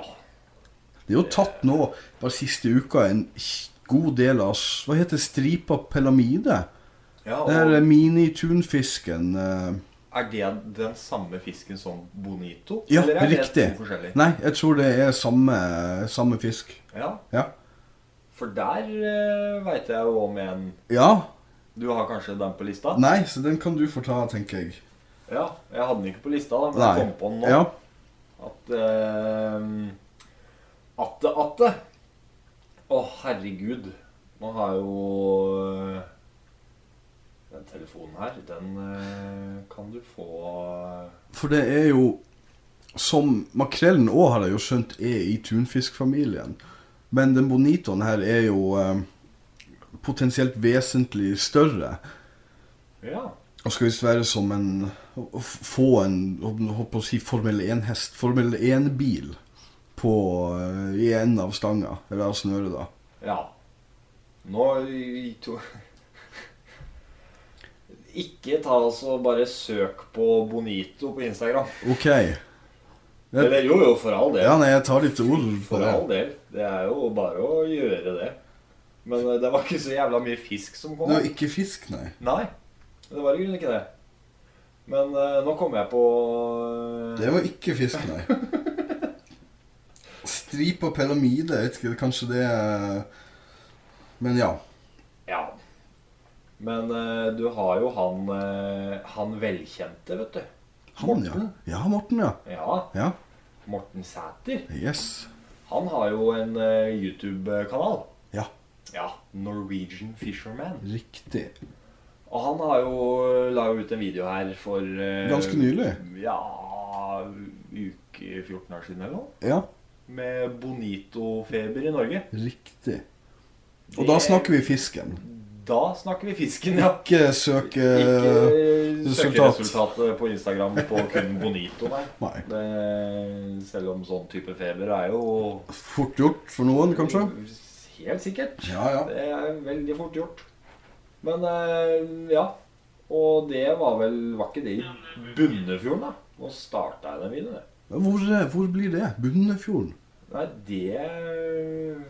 Det er jo tatt nå, bare siste uka, en kj- god del av s- Hva heter stripa pelamide?
ja
Det er eh,
og
mini-tunfisken eh,
er det den samme fisken som bonito?
Ja,
Eller er det
riktig.
to forskjellige?
Nei, jeg tror det er samme, samme fisk.
Ja,
Ja.
for der uh, veit jeg jo om en
ja.
Du har kanskje den på lista?
Nei, så den kan du få ta, tenker jeg.
Ja, jeg hadde den ikke på lista, da, men jeg
Nei.
kom på den nå.
Ja.
At eh, Atte, atte. Å, herregud. Man har jo eh, Den telefonen her, den eh, kan du få eh,
For det er jo Som makrellen òg, har jeg jo skjønt, er i tunfiskfamilien. Men den bonitoen her er jo eh, potensielt vesentlig større.
Ja.
Og skal visst være som en å- å Få en å- holdt på å si Formel 1-hest, Formel 1-bil på eh, i enden av stanga, eller av snøret, da.
Ja. Nå i i to Ikke ta altså bare søk på Bonito på Instagram.
OK.
Eller jo, jo, for all del.
Ja, nei, jeg tar litt ord på
For
det.
all del. Det er jo bare å gjøre det. Men eh, det var ikke så jævla mye fisk som kom.
Det er jo ikke fisk, nei.
Nei, det var i grunnen ikke det. Men eh, nå kom jeg på eh,
Det var ikke fisk, nei. Strip og pyramide, jeg vet ikke, kanskje det er- Men ja.
Ja. Men eh, du har jo han, eh, han velkjente, vet du.
Han, ja. Ja, Morten, ja.
Ja,
Ja,
Morten Sæter.
Yes.
Han har jo en eh, YouTube-kanal.
Ja,
Ja, Norwegian Fisherman.
riktig.
Og han har jo eh, la jo ut en video her for eh,
Ganske nylig.
Ja Uke 14 år siden eller noe.
Ja,
Med bonitofeber i Norge.
riktig. Og da snakker vi fisken.
Da snakker vi fisken, ja.
Ikke søke
Ikke
resultat.
søkeresultatet på Instagram på kun Bonito, nei.
Nei.
Det, selv om sånn type feber er jo
Fort gjort for noen, kanskje?
Helt sikkert.
Ja, ja.
Det er veldig fort gjort. Men eh, ja. Og det var vel Var ikke det i Bunnefjorden, da? Nå starta jeg den videoen, jeg.
Hvor, eh, hvor blir det? Bunnefjorden?
Nei, det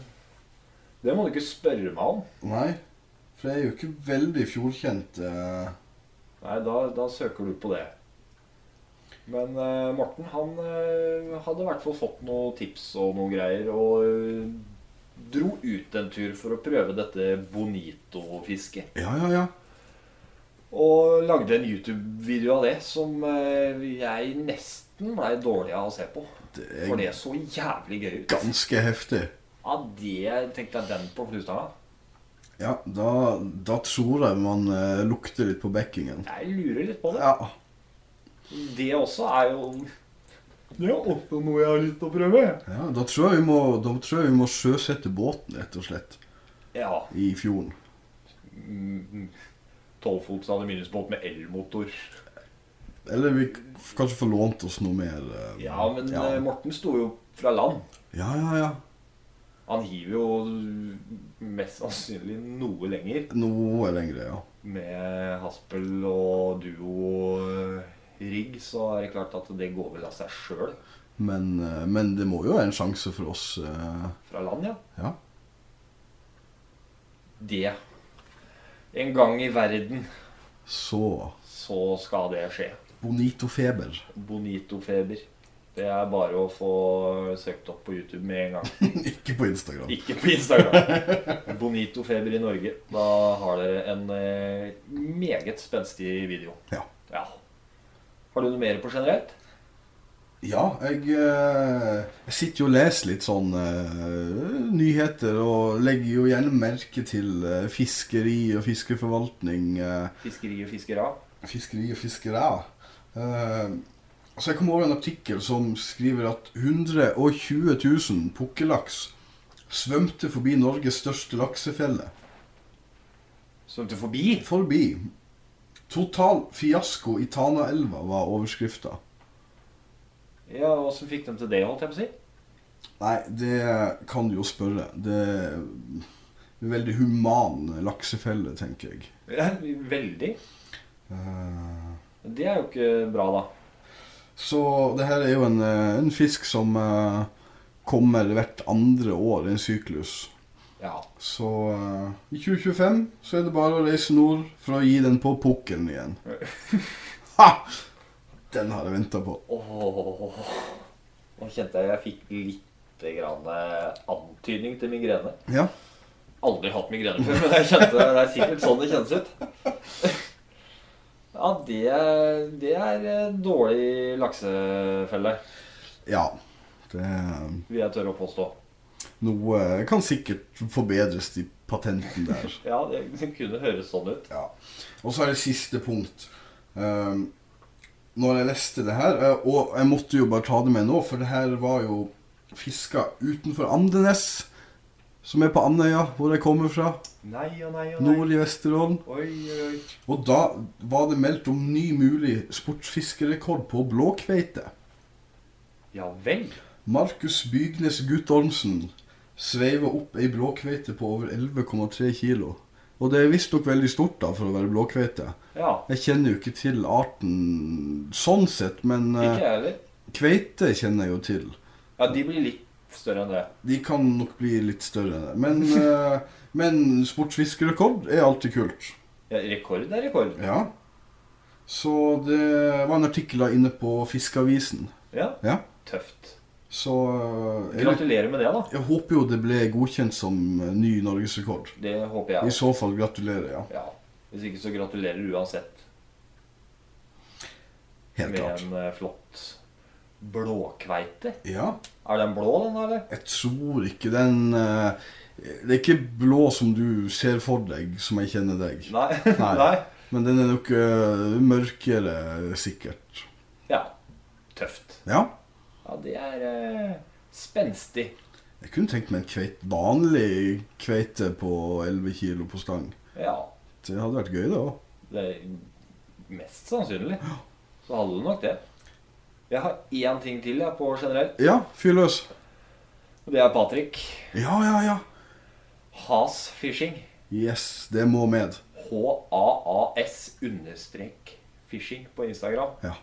Det må du ikke spørre meg om.
Nei, for jeg er jo ikke veldig fjordkjent. eh.
Nei, da, da søker du på det. Men eh, Morten han eh, hadde i hvert fall fått noen tips og noen greier, og eh, dro ut en tur for å prøve dette bonito-fisket.
Ja, ja, ja.
Og lagde en YouTube-video av det som eh, jeg nesten blei dårlig av å se på.
Det
For
er
det så jævlig gøy ut.
ganske heftig.
Ja, det tenkte jeg den på fluestanga.
Ja, da, da tror jeg man eh, lukter litt på bekkingen.
Jeg lurer litt på det.
Ja.
Det også er jo Det er også noe jeg har lyst til å prøve.
ja da, tror jeg vi må, da tror jeg vi må sjøsette båten, rett og slett,
Ja.
i fjorden.
tolvfots aluminiumsbåt med elmotor.
Eller vi k- kanskje får lånt oss noe mer. eh,
Ja, men
ja.
eh, Morten sto jo fra land.
ja, ja, ja.
Han hiver jo mest sannsynlig noe lenger
Noe lengre, ja.
med haspel og duo-rigg, så er det klart at det går vel av seg sjøl
Men, eh, men det må jo være en sjanse for oss. eh,
fra land, ja.
Ja.
Det En gang i verden
Så
så skal det skje.
Bonito feber.
Bonitofeber. Det er bare å få søkt opp på YouTube med en gang.
ikke på Instagram.
Ikke på Instagram. Bonitofeber i Norge. Da har dere en eh, meget spenstig video.
Ja.
Ja. Har du noe mer på generelt?
Ja, jeg, eh, jeg sitter jo og leser litt sånn eh, nyheter, og legger jo gjerne merke til eh, fiskeri og fiskeforvaltning. eh,
Fiskeri og fiskere?
fiskeri og fiskere. Eh, så jeg kom over en artikkel som skriver at 120 000 pukkellaks svømte forbi Norges største laksefelle.
Svømte forbi?
Forbi. Total fiasko i Tanaelva var overskrifta.
Ja, Åssen fikk de til det, holdt jeg på å si?
Nei, det kan du jo spørre. Det er en veldig human laksefelle, tenker jeg.
Ja, Veldig.
Eh,
Det er jo ikke bra, da.
Så det her er jo en, eh, en fisk som eh, kommer hvert andre år i en syklus.
Ja.
Så eh, i 2025 så er det bare å reise nord for å gi den på pukkelen igjen. Ha! Den har jeg venta på.
Åh. Nå kjente jeg jeg fikk lite grann eh, antydning til migrene.
Ja.
aldri hatt migrene før, men jeg kjente det. Det er sikkert sånn det kjennes ut. Ja, det, det er en dårlig laksefelle,
ja. Det,
vil jeg tørre å påstå.
noe eh, Kan sikkert forbedres, de patenten der.
Ja, det, det kunne høres sånn ut.
Ja. Og så er det siste punkt. Um, når jeg leste det her eh, Og jeg måtte jo bare ta det med nå, for det her var jo fiska utenfor Andenes, som er på Andøya, hvor jeg kommer fra.
Nei og nei og nei.
Nord i Vesterålen.
Oi, oi, oi.
Og da var det meldt om ny mulig sportsfiskerekord på blåkveite.
Ja vel.
Markus Bygnes Guttormsen sveiver opp ei blåkveite på over 11,3 kilo. Og det er visstnok veldig stort da, for å være blåkveite.
Ja.
Jeg kjenner jo ikke til arten sånn sett, men
Ikke
eh,
jeg heller.
kveite kjenner jeg jo til.
Ja, de blir litt større enn det.
De kan nok bli litt større enn det. Men, eh, men sportsfiskerekord er alltid kult.
Ja, rekord er rekord.
Ja. Så det var en artikkel da inne på Fiskeavisen.
Ja,
Ja.
tøft.
Så eh, jeg,
Gratulerer med det, da.
jeg håper jo det ble godkjent som eh, ny norgesrekord.
Det håper jeg.
I så fall gratulerer, ja.
Ja. Hvis ikke, så gratulerer du uansett
Helt
med
klart.
en eh, flott blåkveite.
Ja.
Er den blå, den, eller?
Jeg tror ikke den eh, Det er ikke blå som du ser for deg, som jeg kjenner deg.
Nei.
Nei.
Nei.
Men den er nok eh, mørkere, sikkert.
Ja. Tøft.
Ja.
Ja, det er eh, spenstig.
Jeg kunne tenkt meg en kveit, vanlig kveite på 11 kilo på stang.
Ja.
Det hadde vært gøy, det òg.
Det er mest sannsynlig. Så hadde du nok det. Jeg har én ting til jeg, på generelt,
Ja, fyr løs.
og det er Patrick.
Ja, ja, ja.
Has Fishing.
Yes, det må med.
H-A-A-S understrek fishing på Instagram.
Ja.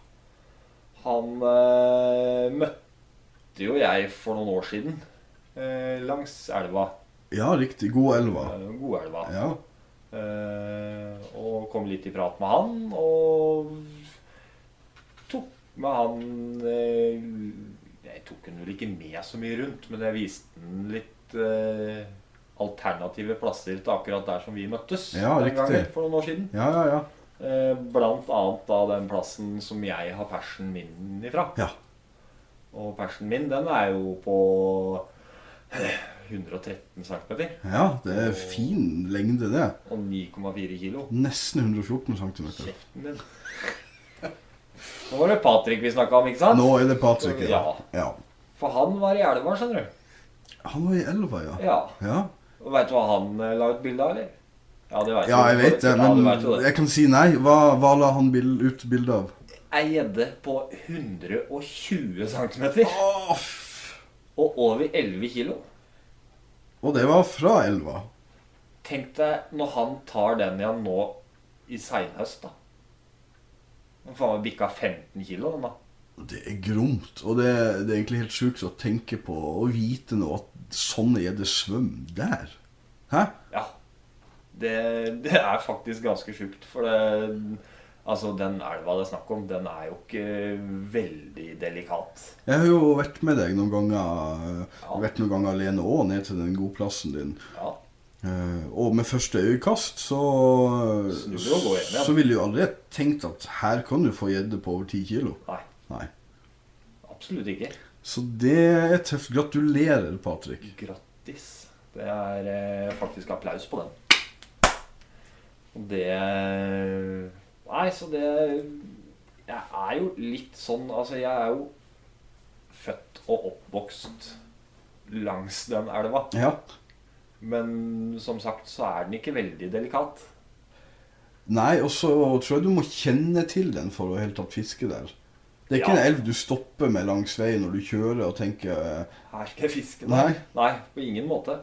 Han eh, møtte jo jeg for noen år siden eh, langs elva.
Ja, riktig. God elva.
Eh, Godelva.
Ja.
Eh, og kom litt i prat med han, og tok med han eh, Jeg tok han vel ikke med så mye rundt, men jeg viste han litt eh, alternative plasser til akkurat der som vi møttes
Ja,
den
riktig.
gangen for noen år siden.
Ja, ja, ja.
Eh, Blant annet da den plassen som jeg har persen min ifra.
Ja.
Og persen min, den er jo på eh, 113 cm.
ja det er fin lengde, det.
Og 9,4 kilo.
Nesten 114 cm.
Kjeften din. Nå var det Patrick vi snakka om, ikke sant?
Nå er det Patrick.
Ja.
ja.
For han var i elva, skjønner du.
Han var i elva, ja.
Ja.
Ja,
Og veit du hva han eh, la ut bilde av, eller? Ja, det vet
ja jeg vet det,
Ja, du
men
vet jo det.
jeg kan si nei. Hva, hva la han bil, ut bilde av?
Ei gjedde på 120 cm og over 11 kilo.
Og det var fra elva.
Tenk deg når han tar den igjen nå i seinhøst, da. Han faen meg bikka 15 kilo, den da.
Det er gromt, og det, det er egentlig helt sjukt å tenke på og vite nå at sånne gjedder svømmer der. Hæ?
Ja. Det, det er faktisk ganske sjukt, for det Altså, den elva det er snakk om, den er jo ikke veldig delikat.
Jeg har jo vært med deg noen ganger,
Ja.
vært noen ganger alene òg, ned til den gode plassen din.
Ja.
Eh, og med første øyekast så
Snur du og går hjem igjen.
Så ville jo aldri jeg tenkt at her kan du få gjedde på over 10 kilo.
Nei.
Nei.
Absolutt ikke.
Så det er tøft. Gratulerer, Patrick.
Grattis. Det er eh, faktisk applaus på den. Og det Nei, så det Jeg er jo litt sånn Altså, jeg er jo født og oppvokst langs den elva.
Ja.
Men som sagt så er den ikke veldig delikat.
Nei, og så tror jeg du må kjenne til den for å helt tatt fiske der. Det er ikke
Ja.
en elv du stopper med langs veien når du kjører og tenker eh,
Her skal jeg fiske. da.
Nei.
Nei, på ingen måte.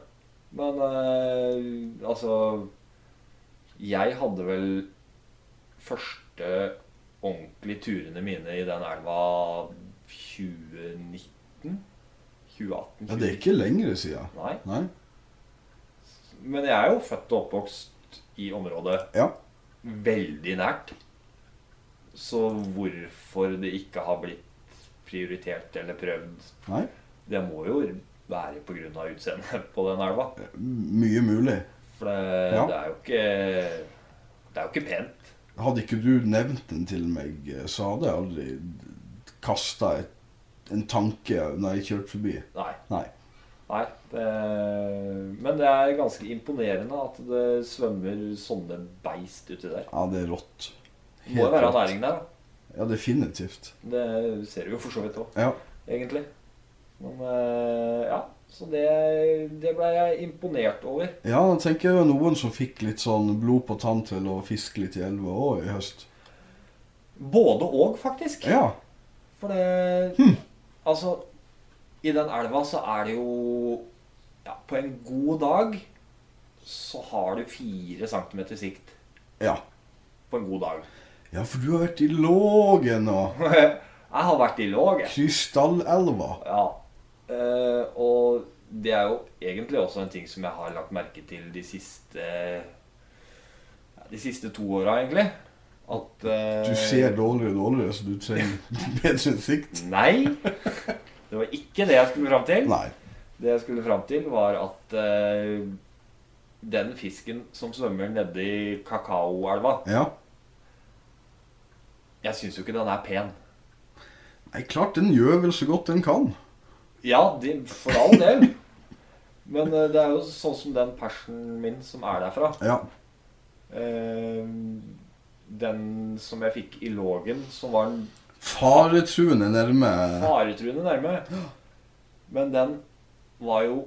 Men eh, altså Jeg hadde vel første ordentlige turene mine i den elva 2019? 2018?
Ja, det er ikke lenger siden.
Nei.
Nei.
Men jeg er jo født og oppvokst i området
Ja.
veldig nært. Så hvorfor det ikke har blitt prioritert eller prøvd,
Nei.
det må jo være pga. utseendet på den elva.
Mye mulig.
For det,
Ja.
det er jo ikke Det er jo ikke pent.
Hadde ikke du nevnt den til meg, eh, så hadde jeg aldri kasta en tanke når jeg kjørte forbi.
Nei.
Nei.
Nei. Det, men det er ganske imponerende at det svømmer sånne beist uti der.
Ja, det er rått.
Må jo være næring der, da.
Ja, definitivt.
Det ser du jo for så vidt òg,
Ja.
egentlig. Men eh, ja. Så det, det ble jeg imponert over.
ja, da tenker jeg det var noen som fikk litt sånn blod på tann til å fiske litt i elva òg i høst.
Både og, faktisk.
Ja. Hm.
For det Altså, i den elva så er det jo ja, På en god dag så har du fire centimeter sikt.
Ja,
På en god dag.
ja for du har vært i Lågen og
jeg har vært i låg, jeg.
Krystallelva.
Ja. Eh, og det er jo egentlig også en ting som jeg har lagt merke til de siste ja, De siste to åra, egentlig. At eh,
Du ser dårligere og dårligere, så du trenger bedre sikt.
Nei. Det var ikke det jeg skulle fram til.
Nei.
Det jeg skulle fram til, var at eh, den fisken som svømmer nede i kakaoelva
Ja.
Jeg syns jo ikke den er pen.
Nei, klart den gjør vel så godt den kan.
Ja, de, for all del. Men eh, det er jo sånn som den persen min som er derfra.
Ja.
Eh, den som jeg fikk i lågen, som var den
Faretruende nærme.
faretruende nærme. Men den var jo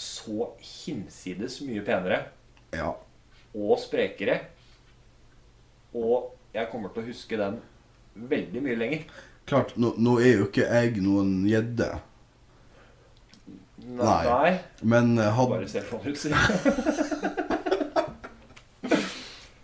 så hinsides mye penere.
Ja.
og sprekere. Og jeg kommer til å huske den veldig mye lenger.
Klart, nå, nå er jo ikke jeg noen gjedde, Nei. men eh, hadde
Bare ser sånn ut, sier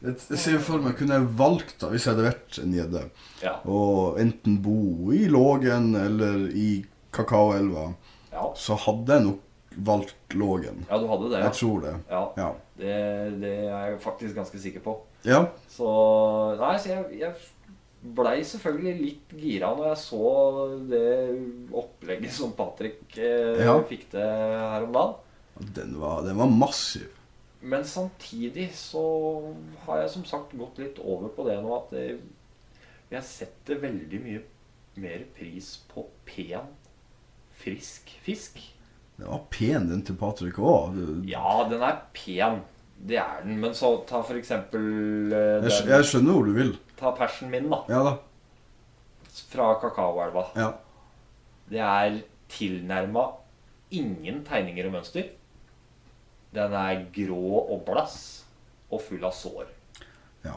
Jeg jeg ser for meg kunne jeg valgt da, hvis jeg hadde vært en gjedde,
Ja.
å enten bo i Lågen eller i Kakaoelva,
Ja.
så hadde jeg nok valgt Lågen.
ja, du hadde det,
Jeg
ja.
tror det.
ja
Ja.
det, det er jeg faktisk ganske sikker på.
Ja,
Så Nei, så jeg, jeg blei selvfølgelig litt gira når jeg så det opplegget som Patrick eh,
Ja.
fikk til her om dagen.
den var, den var massiv.
Men samtidig så har jeg som sagt gått litt over på det nå at det, jeg setter veldig mye mer pris på pen, frisk fisk.
Den var pen, den til Patrick òg.
Ja, den er pen. Det er den. Men så ta for eksempel eh,
Jeg, skj-
den,
jeg skjønner hvor du vil.
Ta persen min, da.
Ja da.
Fra Kakaoelva.
Ja.
Det er tilnærma ingen tegninger og mønster. Den er grå og blass og full av sår.
ja.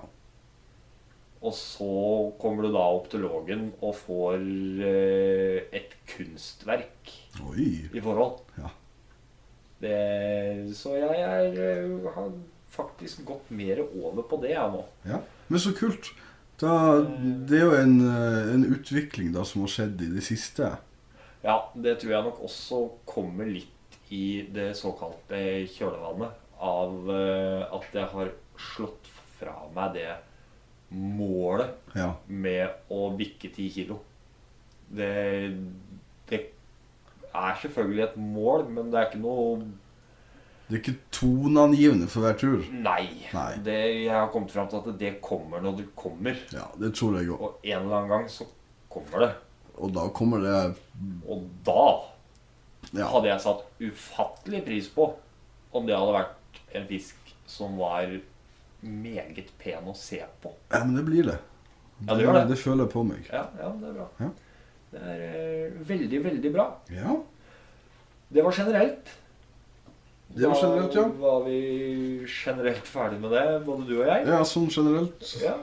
Og så kommer du da opp til Lågen og får eh, et kunstverk
Oi.
i forhold.
Ja.
Det, så jeg er, eh, har faktisk gått mer over på det jeg nå.
Ja, men så kult. Da, det er jo en, eh, en utvikling da som har skjedd i det siste.
Ja, det tror jeg nok også kommer litt i det såkalte kjølvannet av eh, at jeg har slått fra meg det målet
Ja.
med å bikke 10 kilo. Det, det er selvfølgelig et mål, men det er ikke noe
Det er ikke toneangivende for hver tur.
nei.
Nei.
Det, jeg har kommet fram til at det kommer når det kommer.
Ja, det tror jeg òg.
Og en eller annen gang så kommer det.
Og da kommer det
Og da
Ja.
hadde jeg satt ufattelig pris på om det hadde vært en fisk som var meget pen å se på.
ja men det blir det.
Ja, det gjør det.
Det føler jeg på meg.
Ja, ja det er bra.
Ja.
Det er eh, veldig, veldig bra.
Ja.
Det var generelt.
Det var generelt, ja.
Da var vi generelt ferdig med det, både du og jeg.
Ja, sånn generelt.
Ja.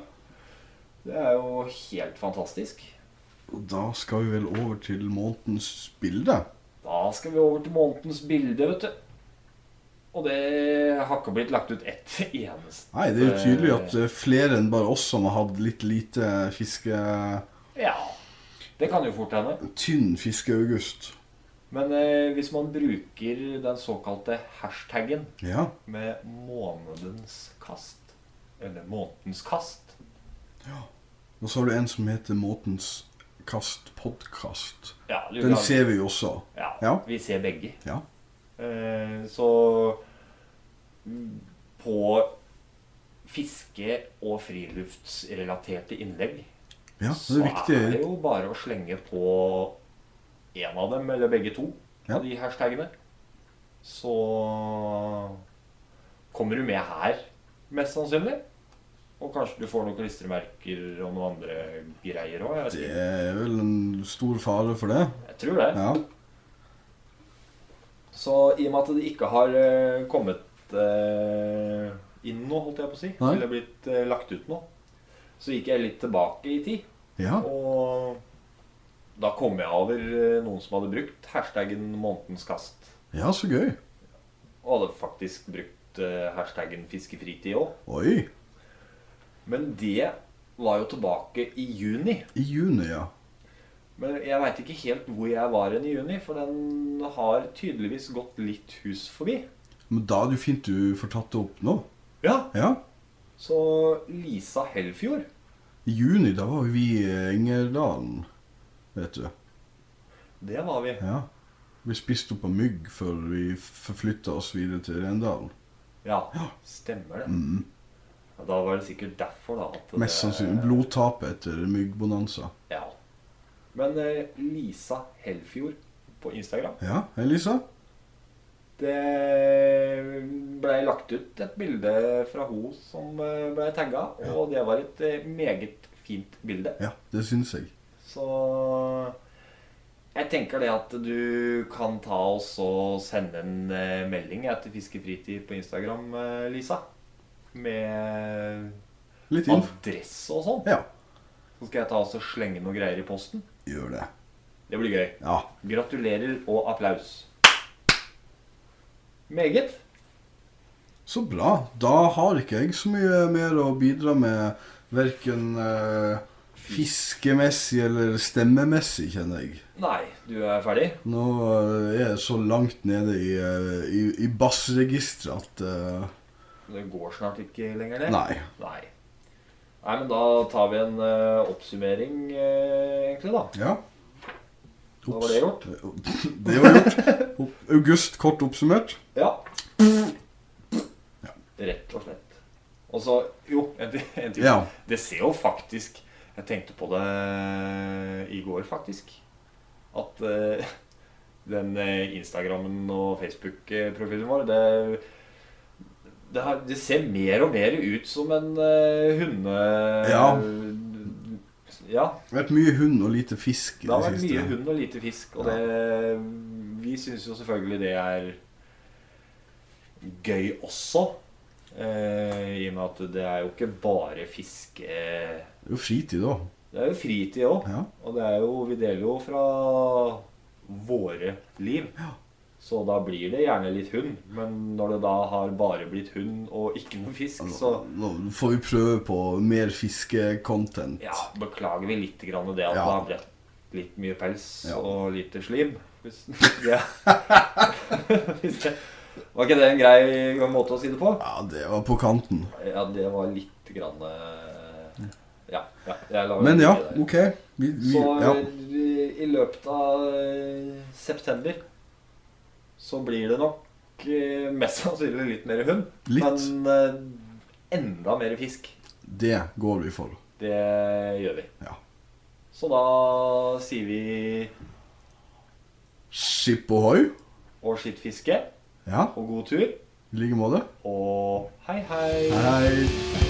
Det er jo helt fantastisk.
Og da skal vi vel over til månedens bilde.
Da skal vi over til månedens bilde, vet du. Og det har ikke blitt lagt ut ett eneste.
Nei, det er jo tydelig at det er flere enn bare oss som har hatt litt lite fiske...
Ja, det kan jo fort hende.
Tynn fiskeaugust.
Men eh, hvis man bruker den såkalte hashtaggen
Ja.
med månedens kast, eller månedens kast,
Og så har du en som heter Måtens Kast podkast.
ja, du
Den
kan-
ser vi jo også.
altså. ja,
Ja.
vi ser begge.
Ja.
Eh, Så mm, på fiske- og friluftsrelaterte innlegg
ja det
så
er viktig.
er det jo bare å slenge på en av dem, eller begge to,
Ja.
av de hashtagene. så kommer du med her, mest sannsynlig. Og kanskje du får noen klistremerker og noen andre greier òg.
Det er vel en stor fare for det.
Jeg tror det.
Ja.
Så i og med at det ikke har eh, kommet eh, inn nå, holdt jeg på å si,
Nei.
eller blitt eh, lagt ut nå, så gikk jeg litt tilbake i tid.
ja.
Og da kom jeg over eh, noen som hadde brukt hashtaggen 'månedens kast'.
Ja, så gøy.
Og hadde faktisk brukt eh, hashtaggen 'fiskefritid' òg.
Oi.
Men det var jo tilbake i juni.
I juni, ja.
Men jeg veit ikke helt hvor jeg var hen i juni, for den har tydeligvis gått litt hus forbi.
Men da er det jo fint du får tatt det opp nå.
Ja,
Ja.
Så Lisa Hellfjord
I juni, da var vi i Engerdalen, vet du.
Det var vi.
Ja. Vi spiste opp av mygg før vi forflytta oss videre til Rendalen.
Ja, stemmer det.
Mm.
Ja, Da var det sikkert derfor, da. At
Mest sannsynlig blodtapet etter myggbonanza.
Ja. Men eh, Lisa Hellfjord på Instagram
Ja, Elisa?
Det blei lagt ut et bilde fra hun som eh, blei tagga, og det var et eh, meget fint bilde.
Ja, det syns jeg.
Så jeg tenker det at du kan ta og så sende en eh, melding etter Fiskefritid på Instagram, eh, Lisa. Med
Litt info.
adresse og sånn.
Ja,
Så skal jeg ta og så slenge noen greier i posten.
gjør det.
Det blir gøy.
Ja.
Gratulerer og applaus. Meget.
Så bra. Da har ikke jeg så mye mer å bidra med, verken eh, fiskemessig eller stemmemessig, kjenner jeg.
Nei, du er ferdig?
Nå eh, er jeg så langt nede i, eh, i, i bassregisteret at eh,
Det går snart ikke lenger, det?
Nei.
Nei. Nei, men da tar vi en eh, oppsummering, eh, egentlig, da.
Ja.
Da var det gjort.
Det var gjort. Opp- August, kort oppsummert.
Ja. Rett og slett. Og så Jo, en ting. En ting.
Ja.
Det ser jo faktisk Jeg tenkte på det i går, faktisk. At eh, den eh, Instagrammen og Facebook-profilen vår det, det, har, det ser mer og mer ut som en eh, hunde...
Ja.
Ja,
Det har vært mye hund og lite fisk i
det har
det
vært mye
siste.
hund og lite fisk, og
Ja.
det, vi syns jo selvfølgelig det er gøy også. Eh, I og med at det er jo ikke bare fiske Det
Det er jo fritid òg.
er jo fritid òg.
Ja.
Og det er jo, vi deler jo fra våre liv. Så da blir det gjerne litt hund. Men når det da har bare blitt hund og ikke noe fisk, så
Nå får vi prøve på mer fiskecontent.
Ja, beklager vi litt grann det at
Ja.
det har blitt litt mye pels
Ja.
og lite slim. Hvis, ja. Hvis det, var ikke det en grei måte å si det på?
Ja, det var på kanten.
Ja, det var litt grann eh, Ja. ja jeg la
Men
det
ja,
der.
OK. Vi, vi,
Så
ja.
eh, i løpet av eh, september så blir det nok eh, mest sannsynlig litt mer hund.
Litt.
Men eh, enda mer fisk.
Det går vi for.
Det gjør vi.
Ja.
Så da sier vi
Skip ohoi.
og skitt fiske,
Ja,
og god tur,
i like måte.
og hei hei!
Hei.